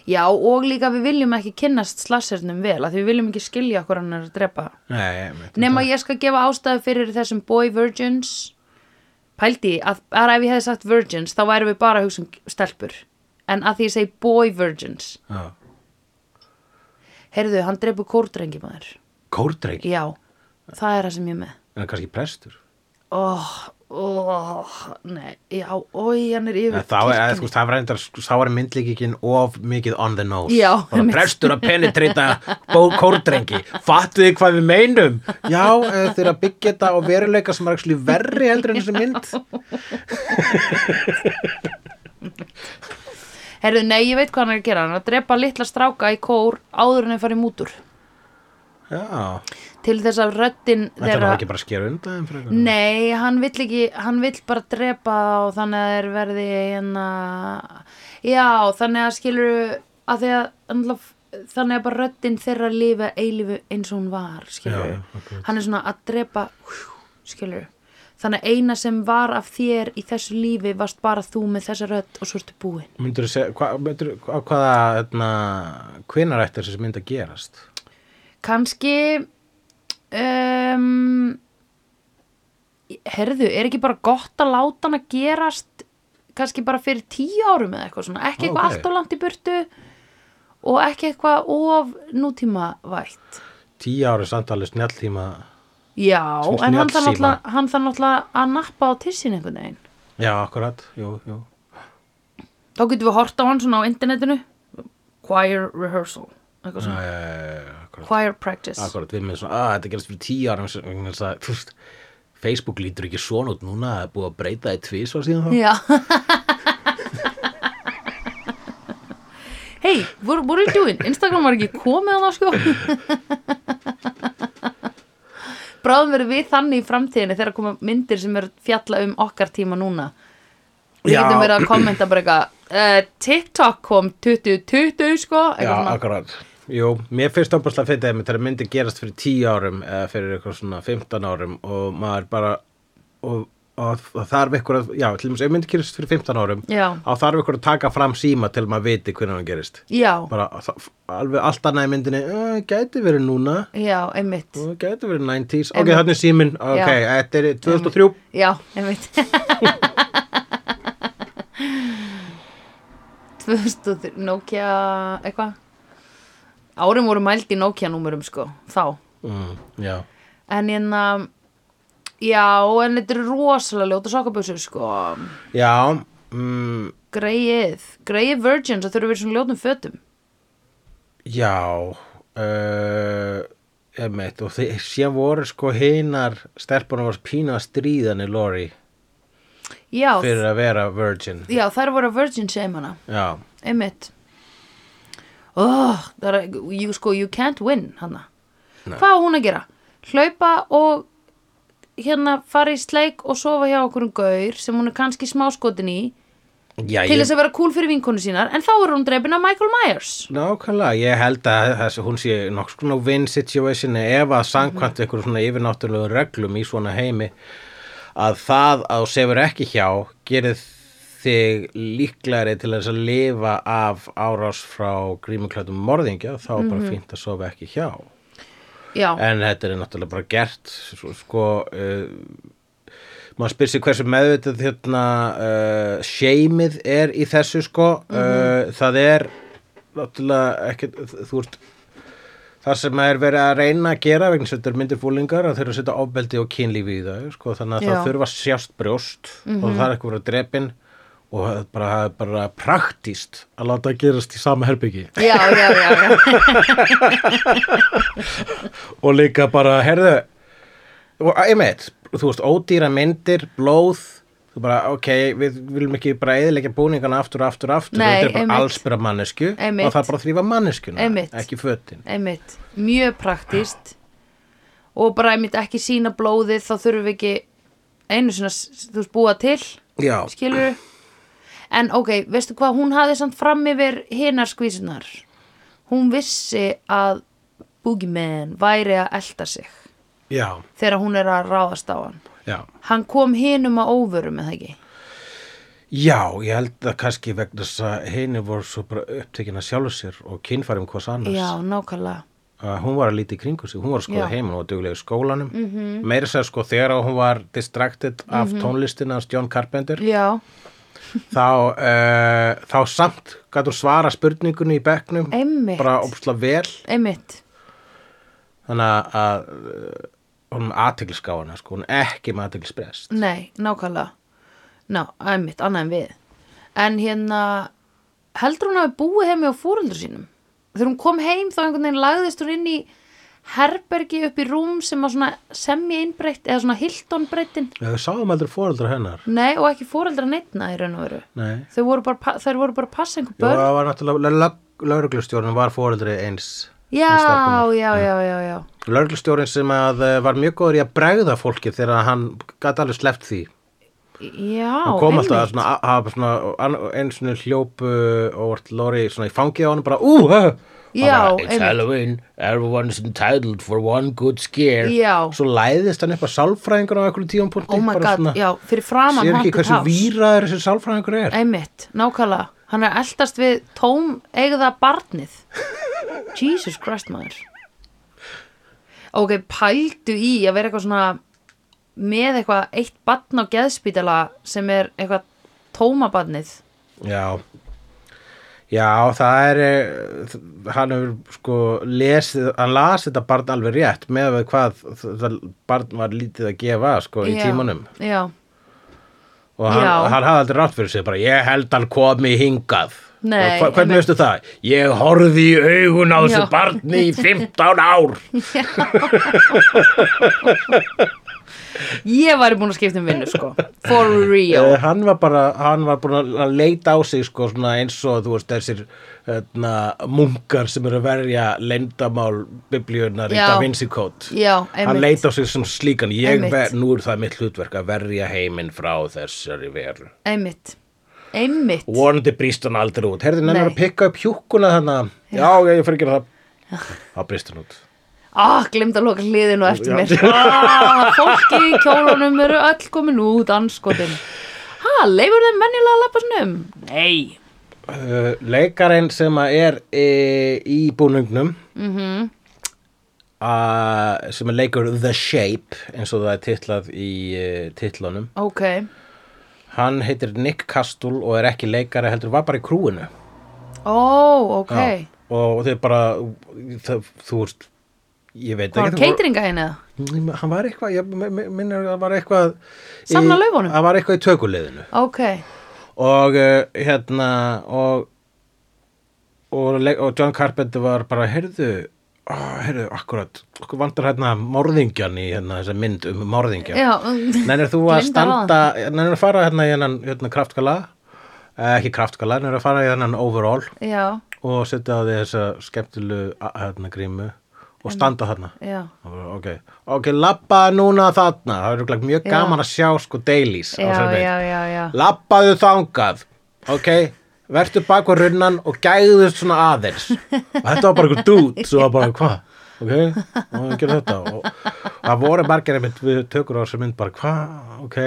Speaker 1: Já, og líka við viljum ekki kynnast slashernum vel af því við viljum ekki skilja okkur hann er að drepa
Speaker 2: Nei, ég veit
Speaker 1: Nefn að ég skal gefa ástæðu fyrir þessum boy virgins Pældi, að bara ef ég hefði sagt virgins þá værum við bara að hugsa um stelpur En að því ég segi boy virgins
Speaker 2: Já.
Speaker 1: Heyrðu, hann dreipur kórdrengi maður
Speaker 2: Kórdreik,
Speaker 1: Já, það er það sem ég er með
Speaker 2: en hann er kannski prestur
Speaker 1: Óh, óh, oh, nei, já, ói, hann er
Speaker 2: En
Speaker 1: yfir
Speaker 2: þá er,
Speaker 1: kirkjunni.
Speaker 2: þú veist, það var reyndar, þá var myndlíkikinn of mikið on the nose.
Speaker 1: Já,
Speaker 2: Bara
Speaker 1: einmitt.
Speaker 2: prestur að penetrita kórdrengi. Fattu þið hvað við meinum? Já, eh, þeir eru að byggja þetta á veruleika sem er ekki verri heldur en þessi mynd.
Speaker 1: Heyrðu, nei, ég veit hvað hann er að gera Hann er að dreipa litla stráka í kór áður en þeir farið mútur
Speaker 2: Já,
Speaker 1: Til þess að röddin
Speaker 2: þetta var ekki bara að skera undan fyrir eitthvað.
Speaker 1: Nei, hann vill ekki, hann vill bara drepa þá og þannig að þeir verði hérna, já, þannig að skilur að því að andla- þannig að bara röddin þeirra lifa eilífu eins og hún var, skilur
Speaker 2: Já, já, akkurat.
Speaker 1: hann er svona að drepa skilur, þannig að eina sem var af þér í þessu lífi varst bara þú með þessa rödd og svo ertu búin
Speaker 2: Myndur þú segja, hva, myndir, á hvaða hérna, hvenar ætti þessi mynd að gerast?
Speaker 1: kannski um, herðu, er ekki bara gott að láta hann að gerast kannski bara fyrir tíu árum eða eitthvað svona ekki eitthvað
Speaker 2: Ó, ókei.
Speaker 1: allt of langt í burtu og ekki eitthvað of nútíma vætt
Speaker 2: Tíu ári samtali snjalltíma
Speaker 1: já,
Speaker 2: Sem
Speaker 1: en hann þarf
Speaker 2: snjallsíma.
Speaker 1: náttúrulega hann þarf náttúrulega að nappa á tissin einhvern veginn
Speaker 2: Já, akkurat, jú, jú
Speaker 1: þá getum við horta á hann svona á internetinu choir rehearsal eitthvað svona,
Speaker 2: Æ, akkurat,
Speaker 1: choir practice
Speaker 2: akkurat, við með svona, að þetta gerast fyrir tíu árum sem- vegna þess að, þú veist, Facebook lítur ekki svona út núna það er búið að breyta í tvisvar síðan þá
Speaker 1: Já Hey, what, what are you doing? Instagram var ekki komið að það sko Bráðum verðum við þannig í framtíðinni þegar koma myndir sem er fjalla um okkar tíma núna Við
Speaker 2: Já.
Speaker 1: getum verið að kommenta bara eitthvað uh, TikTok kom 2020 sko
Speaker 2: Já,
Speaker 1: eitthvað svona.
Speaker 2: akkurat Jú, mér finnst opaslega fyrir þeim þegar myndi gerast fyrir 10 árum eða fyrir eitthvað svona 15 árum og maður bara og, og, og þarf ykkur að, já, til dæmis ef myndi gerast fyrir 15 árum
Speaker 1: Já.
Speaker 2: þá þarf ykkur að taka fram síma til maður viti hvernig hann gerist
Speaker 1: Já,
Speaker 2: bara það- alveg allt annað í myndinni "Eh, gæti verið núna,
Speaker 1: já, einmitt
Speaker 2: eh, gæti verið 90s ok,
Speaker 1: Einmitt.
Speaker 2: þarna er símin, ok,
Speaker 1: Já.
Speaker 2: þetta er 2003
Speaker 1: Já, einmitt *laughs* 2003, Nokia eitthvað Árum voru mælt í Nokia-númurum sko, þá
Speaker 2: mm, já,
Speaker 1: En en Já, en þetta er rosalega ljóta sokkabössur sko
Speaker 2: já mm,
Speaker 1: Greið, greið virgins það þurfa að vera í svona ljótum fötum
Speaker 2: Já uh, emitt, og þeir síðan voru sko hinar stelpunum var pínu að stríðan í Lori
Speaker 1: Já,
Speaker 2: fyrir að vera virgin
Speaker 1: já þær voru að virgin shame hana
Speaker 2: Já,
Speaker 1: Einmitt oh, það er, you, sko, you can't win hana Hvað á hún að gera? Hlaupa og hérna fara í sleik og sofa hjá okkur um gaur sem hún er kannski smáskotin í
Speaker 2: já
Speaker 1: til
Speaker 2: ég,
Speaker 1: þess að vera cool fyrir vinkonu sínar en þá er hún drefin af Michael Myers
Speaker 2: nákvæmlega ég held að þess, hún sé nokkuð svona win situationi ef að samkvæmt mm einhverjum svona yfirnáttúrulega reglum í svona heimi að það að þú sefur ekki hjá gerir þig líklari til þess að lifa af árás frá grímuklætum morðingja þá er
Speaker 1: Mhm.
Speaker 2: bara fínt að sofa ekki hjá
Speaker 1: Já,
Speaker 2: en þetta er náttúrulega bara gert svo- sko uh, maður spyr sér hversu meðvitað hérna uh, shameið er í þessu sko
Speaker 1: Mhm.
Speaker 2: uh, það er náttúrulega ekki, þú ert það sem er verið að reyna að gera vegna sem þetta er myndir fúlingar að þeir eru að setja ofbeldi og kynlífi í það sko, þannig að
Speaker 1: Já. Mhm.
Speaker 2: það þurfa að sjást brjóst og það er ekki verið að drepin og það er bara, það er bara praktíst að láta það gerast í sama herbyggi
Speaker 1: já, já, já, já.
Speaker 2: og líka bara, herðu og einmitt, þú veist, ódýra myndir blóð, þú bara, ok við viljum ekki bara eðilegja búningana aftur og aftur og aftur,
Speaker 1: Nei,
Speaker 2: þetta er bara
Speaker 1: einmitt.
Speaker 2: allsbyrra mannesku
Speaker 1: Einmitt.
Speaker 2: og það er bara að þrýfa manneskuna
Speaker 1: Einmitt.
Speaker 2: ekki fötin
Speaker 1: Einmitt, mjög praktíst og bara einmitt ekki sína blóðið þá þurfum við ekki einu sinna, s- þú veist, búa til
Speaker 2: Já,
Speaker 1: skilur en ok, veistu hvað, hún hafði samt fram yfir hinar skvísunar hún vissi að Boogeyman væri að elta sig
Speaker 2: já,
Speaker 1: þegar hún er að ráðast á hann
Speaker 2: já
Speaker 1: hann kom hinum að óvörum eða ekki
Speaker 2: Já, ég held að kannski vegna þess að henni voru svo bara upptekin að sjálfu sér og kynfærum hvers annars
Speaker 1: já, nákvæmlega
Speaker 2: að hún var að líti í kringu sig, hún var að skoða
Speaker 1: Já. Mhm.
Speaker 2: heim hún var duglega í skólanum mm -hmm. meira sér sko þegar hún var distracted af tónlistina hans John Carpenter
Speaker 1: já,
Speaker 2: þá, uh, þá samt gætu svara spurningunni í bekknum
Speaker 1: Einmitt.
Speaker 2: bara óbúslega vel
Speaker 1: einmitt
Speaker 2: þannig að- að uh, hún er aðtegliskáana sko, hún er ekki með aðteglisbrest
Speaker 1: Nei, nákvæmlega Ná, einmitt, annað en við En hérna, heldur hún að við búið heimi á fóreldur sínum Þegar hún kom heim þá einhvern veginn lagðist hún inn í herbergi upp í rúm sem var svona semja innbreytt eða svona Hilton breyttin
Speaker 2: við sáum aldrei fóreldra hennar
Speaker 1: Nei, og ekki fóreldra neittna í raun og veru
Speaker 2: Nei.
Speaker 1: Þau voru bara, pa- þær voru bara að passa einhver
Speaker 2: Jú,
Speaker 1: börn
Speaker 2: það var náttúrulega lauruglustjórn var fóreldri eins
Speaker 1: Já,
Speaker 2: eins stelpunnar.
Speaker 1: já, já, já, já
Speaker 2: Lögreglustjórinn sem að eh, var mjög góður í að bregða fólki þegar hann gæti alveg sleppt því.
Speaker 1: Já,
Speaker 2: hann kom alltaf að
Speaker 1: einmitt
Speaker 2: svona, að, að svona einu svona hljópu og vart Lori svona í fangið á hann bara, ú, uh,
Speaker 1: Já,
Speaker 2: bara, It's
Speaker 1: einmitt.
Speaker 2: Halloween, everyone's entitled for one good scare
Speaker 1: Já.
Speaker 2: Svo læðist hann upp að sálfræðingur á einhverjum tíum punkti
Speaker 1: oh my god, já, fyrir framan
Speaker 2: Sér ekki
Speaker 1: Haunted
Speaker 2: hversu
Speaker 1: House.
Speaker 2: víraður þessi sálfræðingur er
Speaker 1: einmitt, nákvæmlega hann er eldast við tóm eigða barnið Jesus Christ maður ok, pældu í að vera eitthvað svona með eitthvað eitt barn á geðspítala sem er eitthvað tóma barnið
Speaker 2: Já Já, það er eh, hann hefur sko lesið, hann las þetta barn alveg rétt með við hvað það barn var lítið að gefa sko í
Speaker 1: Já,
Speaker 2: tímanum
Speaker 1: já,
Speaker 2: og hann,
Speaker 1: Já.
Speaker 2: hann hafði aldrei rátt fyrir sig bara ég held hann komi hingað
Speaker 1: Nei,
Speaker 2: og hva, hvernig
Speaker 1: einmitt.
Speaker 2: veistu það? Ég horfði í augun á þessu
Speaker 1: Já.
Speaker 2: barni í 15 ár
Speaker 1: ég væri búin að skipta um vinnu sko, for
Speaker 2: *laughs* Eh,
Speaker 1: real
Speaker 2: hann var bara, hann var búin að leita á sig sko svona eins og þú veist þessir hérna, munkar sem eru að verja leyndamál biblíunar í
Speaker 1: Já.
Speaker 2: Da Vinci Code
Speaker 1: já,
Speaker 2: hann
Speaker 1: einmitt,
Speaker 2: leita á sig sem slíkan ég
Speaker 1: Einmitt.
Speaker 2: ver, nú er það mitt hlutverk að verja heiminn frá þessari veru
Speaker 1: einmitt einmitt,
Speaker 2: vonandi brýst hann aldrei út herði
Speaker 1: Nei.
Speaker 2: nefnir að pikka upp hjúkkuna þannig já, já, ég fyrir ekki það þá brýst hann út
Speaker 1: ah, glemt að loka hliðinu á eftir
Speaker 2: Já.
Speaker 1: mér ah, fólki í kjólunum eru öll komin út anskotin ha, leifur þeim venjulega að um? lappa snum nei,
Speaker 2: uh, leikarinn sem að er e, í búningnum mm
Speaker 1: Mhm,
Speaker 2: sem er leikur The Shape eins og það er titlað í uh, titlunum
Speaker 1: ok
Speaker 2: hann heitir Nick Castle og er ekki leikari heldur var bara í krúinu
Speaker 1: ó, oh, ok
Speaker 2: Já, og þið bara það, þú veist ég veit
Speaker 1: hvað var
Speaker 2: ekki
Speaker 1: keitringa henni eða?
Speaker 2: voru- hann var eitthvað ég mi- mi- minnir að það var eitthvað í-
Speaker 1: Safna laufunum?
Speaker 2: það var eitthvað í tökuleiðinu
Speaker 1: ok,
Speaker 2: og uh, hérna og og, le- og John Carpenter var bara heyrðu oh, heyrðu akkurat okkur vandar hérna morðingjan í hérna þessa mynd um morðingjan
Speaker 1: já
Speaker 2: Nennir þú að
Speaker 1: Gleymdi að ráða.
Speaker 2: standa, nennir að fara hérna í hennan hérna, kraftgala, eh, ekki kraftgala, nennir að fara í hennan overall
Speaker 1: já,
Speaker 2: og setja á því þessa skemmtilu a- hérna, grímu
Speaker 1: Mm.
Speaker 2: og standa þarna.
Speaker 1: já,
Speaker 2: Og bara, Ok, ok, labba núna þarna, það er örugglega mjög
Speaker 1: Já.
Speaker 2: gaman að sjá sko dailies á
Speaker 1: já,
Speaker 2: þessari mynd.
Speaker 1: já, já, já.
Speaker 2: Labbaðu þangað, ok, vertu bak á runnan og gæðu svona aðeins. Og þetta var bara einhver dút, svo var bara hvað, ok, og hann gerði þetta. Og það voru margir einmitt við tökur á þessu mynd bara hvað, ok,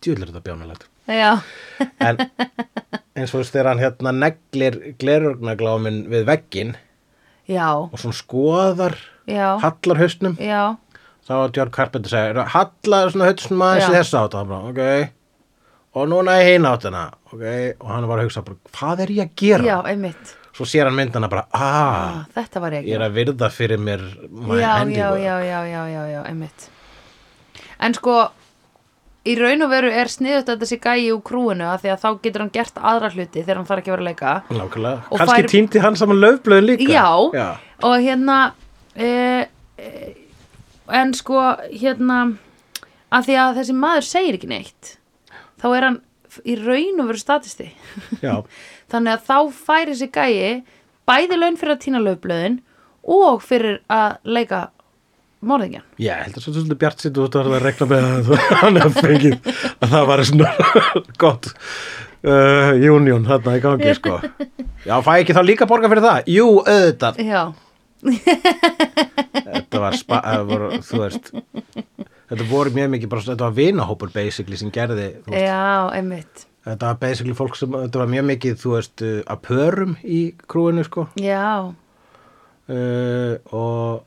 Speaker 2: djúlir þetta bjánulegt.
Speaker 1: já.
Speaker 2: En eins og þess þegar hann hérna neglir glerugnaglómin við veggin
Speaker 1: já,
Speaker 2: og svona skoðar,
Speaker 1: já,
Speaker 2: hallar hausnum,
Speaker 1: já
Speaker 2: þá var John Carpenter segir, hallar svona hausnum aðeins
Speaker 1: Já.
Speaker 2: í þessa átt, og hann bara, ok, og núna í hinn áttina, ok, og hann var að hugsa bara, hvað er ég að gera?
Speaker 1: já, einmitt,
Speaker 2: Svo sér hann myndana bara, ah,
Speaker 1: ah, þetta var ég
Speaker 2: ég er að virða fyrir mér my
Speaker 1: já, já,
Speaker 2: handiwork.
Speaker 1: já, já, já, já, já, einmitt en sko í raun og veru er sniðut að þessi gæi úr krúinu að því að þá getur hann gert aðra hluti þegar hann þarf ekki að vera að leika
Speaker 2: Nákvæmlega,
Speaker 1: Og
Speaker 2: kannski
Speaker 1: fær-
Speaker 2: týndi hann saman löfblöðin líka.
Speaker 1: já,
Speaker 2: já.
Speaker 1: og hérna e, e, en sko hérna að því að þessi maður segir ekki neitt þá er hann í raun og veru statisti
Speaker 2: já.
Speaker 1: *laughs* þannig að þá fær þessi gæi bæði laun fyrir að týna löfblöðin og fyrir að leika morðingjan
Speaker 2: Já, ég held að svo svolítið bjart sitt út að verða að regla með að þú- *laughs* hann að fengið að það var svona *laughs* gott uh, union þarna í gangi sko. Já, fæ ekki þá líka borga fyrir það? Jú, auðvitað.
Speaker 1: já,
Speaker 2: Þetta var, spa, eh, voru, þú veist, þetta voru mjög mikið bara, svona- þetta var vinahópur basically sem gerði, þú veist,
Speaker 1: já, einmitt
Speaker 2: þetta var basically fólk sem, þetta var mjög mikið, þú veist, uh, að pörum í krúinu sko.
Speaker 1: Já,
Speaker 2: uh, og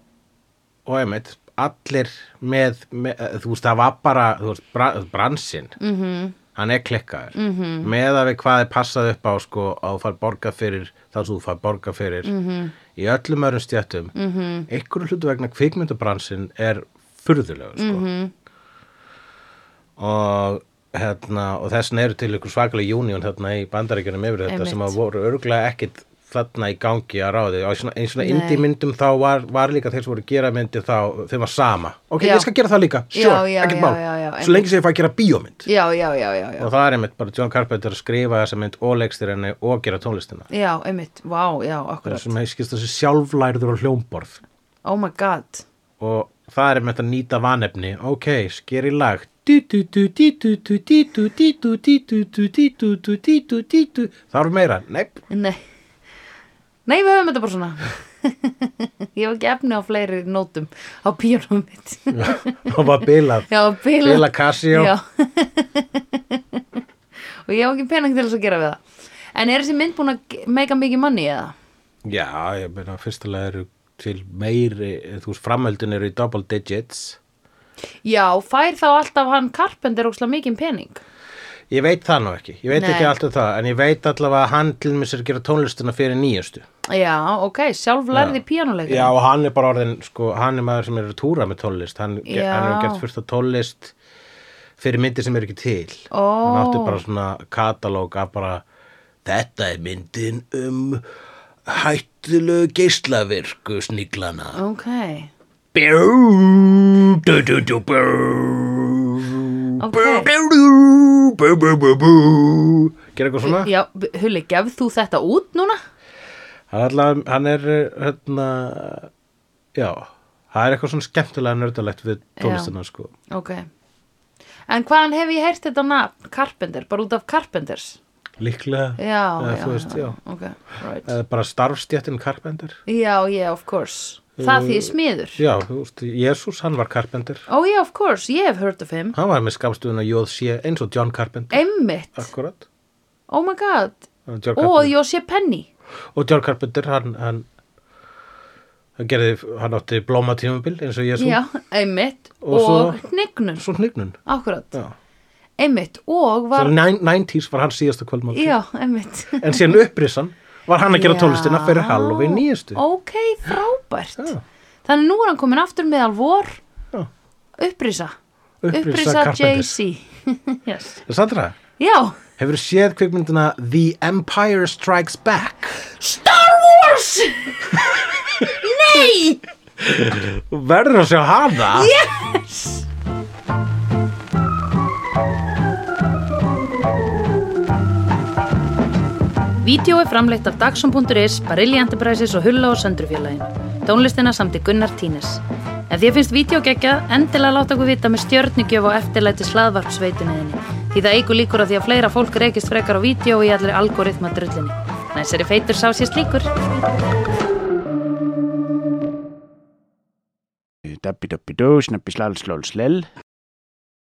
Speaker 2: og einmitt, allir með, með eh, þú veist, það var bara þú veist, bra, bransinn -hmm. hann er klikkaður -hmm. með að við hvað er passað upp á sko, að þú fær borga fyrir það sem þú fær borga fyrir -hmm. í öllum öðrum stjættum mm -hmm. einhverju hlutu vegna kvikmyndabransinn er furðulegur sko. -hmm. og hérna, og þessin eru til ykkur svakalega union þarna í bandaríkjunum yfir þetta
Speaker 1: Einmitt.
Speaker 2: sem að voru örglega ekkit þarna í gangi að ráði og í svona, í svona
Speaker 1: Nei.
Speaker 2: indie myndum þá var, var líka þeir sem voru að gera myndi þá þeim var sama ok,
Speaker 1: Já.
Speaker 2: ég skal gera það líka, sure,
Speaker 1: Já, já,
Speaker 2: ekkert
Speaker 1: já,
Speaker 2: mál
Speaker 1: já, já,
Speaker 2: svo lengi sem ég fæ að gera bíómynd
Speaker 1: já, já, já, já, já.
Speaker 2: og það er einmitt bara John Carpenter að skrifa þessa mynd og leikstir henni og gera tónlistina
Speaker 1: Já, einmitt, vá, já,
Speaker 2: það
Speaker 1: akkurat.
Speaker 2: er sem heiskist þessi sjálflærður og hljómborð
Speaker 1: Oh my god.
Speaker 2: og það er einmitt að nýta vanefni ok, skeri lag það eru meira, neip
Speaker 1: Nei, Nei, við höfum þetta bara svona *laughs* Ég hef ekki efni á fleiri nótum á píanum mitt *laughs*
Speaker 2: og var bilað
Speaker 1: Já, bila,
Speaker 2: bila Casio
Speaker 1: Já. *laughs* Og ég hef ekki pening til þess að gera við það En er þessi mynd búin að ge- make a mikið manni eða?
Speaker 2: Já, ég meina fyrstulega eru til meiri, þú veist, framöldin eru í double digits.
Speaker 1: Já, fær þá alltaf hann Carpenter óslega mikið pening
Speaker 2: Ég veit það nú ekki, ég veit
Speaker 1: Nei.
Speaker 2: ekki allt um það, en ég veit allavega að hann til mér sér að gera tónlistina fyrir nýjastu.
Speaker 1: Já, ok, sjálf lærði píanuleikar
Speaker 2: Já, og hann er bara orðin, sko, hann er maður sem er að túra með tónlist, hann, ge-
Speaker 1: Já.
Speaker 2: hann er gert fyrst að tónlist fyrir myndir sem er ekki til.
Speaker 1: Ó.
Speaker 2: Hann átti bara svona katalóg af bara, þetta er myndin um hættulegu geislavirku sniglana.
Speaker 1: Ok,
Speaker 2: Bjú, du, du, du, bjú.
Speaker 1: Ok.
Speaker 2: Bjú, bjú, du, bjú, bjú, bjú, bjú. Gera eitthvað svona?
Speaker 1: já, Hulli, gefð þú þetta út núna?
Speaker 2: Hann er, allavega, hann er uh, hérna, já, það er eitthvað svona skemmtilega nördalegt við tónlistina, sko.
Speaker 1: Ok En hvaðan hef ég heyrt þetta nafn Carpenter, bara út af Carpenters?
Speaker 2: Líklega,
Speaker 1: Já,
Speaker 2: eða,
Speaker 1: já,
Speaker 2: þú veist, já.
Speaker 1: ok, right
Speaker 2: Eða bara starfstjættin Carpenter.
Speaker 1: Já, yeah, of course Það því smiður
Speaker 2: Já, þú veist, Jésús, hann var Carpenter.
Speaker 1: Oh yeah, of course, ég hef heard of him
Speaker 2: Hann var með skamstuðuna Jóð sé eins og John Carpenter.
Speaker 1: Einmitt,
Speaker 2: Akkurat.
Speaker 1: oh my god
Speaker 2: John Carpenter.
Speaker 1: Og José Penny
Speaker 2: og John Carpenter hann, hann, hann gerði, hann átti blóma tímabil eins og ég svo,
Speaker 1: Já, einmitt
Speaker 2: Og
Speaker 1: Og,
Speaker 2: svo-
Speaker 1: hnignun,
Speaker 2: svo hnignun
Speaker 1: akkurat
Speaker 2: Já.
Speaker 1: Einmitt, og
Speaker 2: svo
Speaker 1: var
Speaker 2: 9- 90s var hann síðasta kvöldmáltíð
Speaker 1: Já, einmitt
Speaker 2: en síðan upprisan var hann að gera
Speaker 1: Já.
Speaker 2: tónlistina fyrir Halloween nýjastu
Speaker 1: Ok, frábært
Speaker 2: Já.
Speaker 1: Þannig nú er hann komin aftur meðal vor
Speaker 2: Já.
Speaker 1: Upprisa
Speaker 2: Upprisa Carpenter.
Speaker 1: Jay-Z *laughs* yes.
Speaker 2: Sandra,
Speaker 1: Já
Speaker 2: hefur séð kvikmyndina The Empire Strikes Back
Speaker 1: Star Wars Nei
Speaker 2: og verður að sjá hana yeah.
Speaker 1: Vídeó er framleitt af Dagsum.is, Barilli Enterprises og Hulla og Söndrufjörlægin Tónlistina samti Gunnar Tínes Ef þér finnst vídeo geggjað, endilega láta okkur vita með stjörnugjöf og eftirlæti slaðvarpsveituninni Því það eigur líkur að því að fleira fólk reykist frekar á vídeo í allir algoritma drullinni Næsari feitur sá sér slíkur
Speaker 3: Dabbi dabbi dó, snabbi slal slól slell.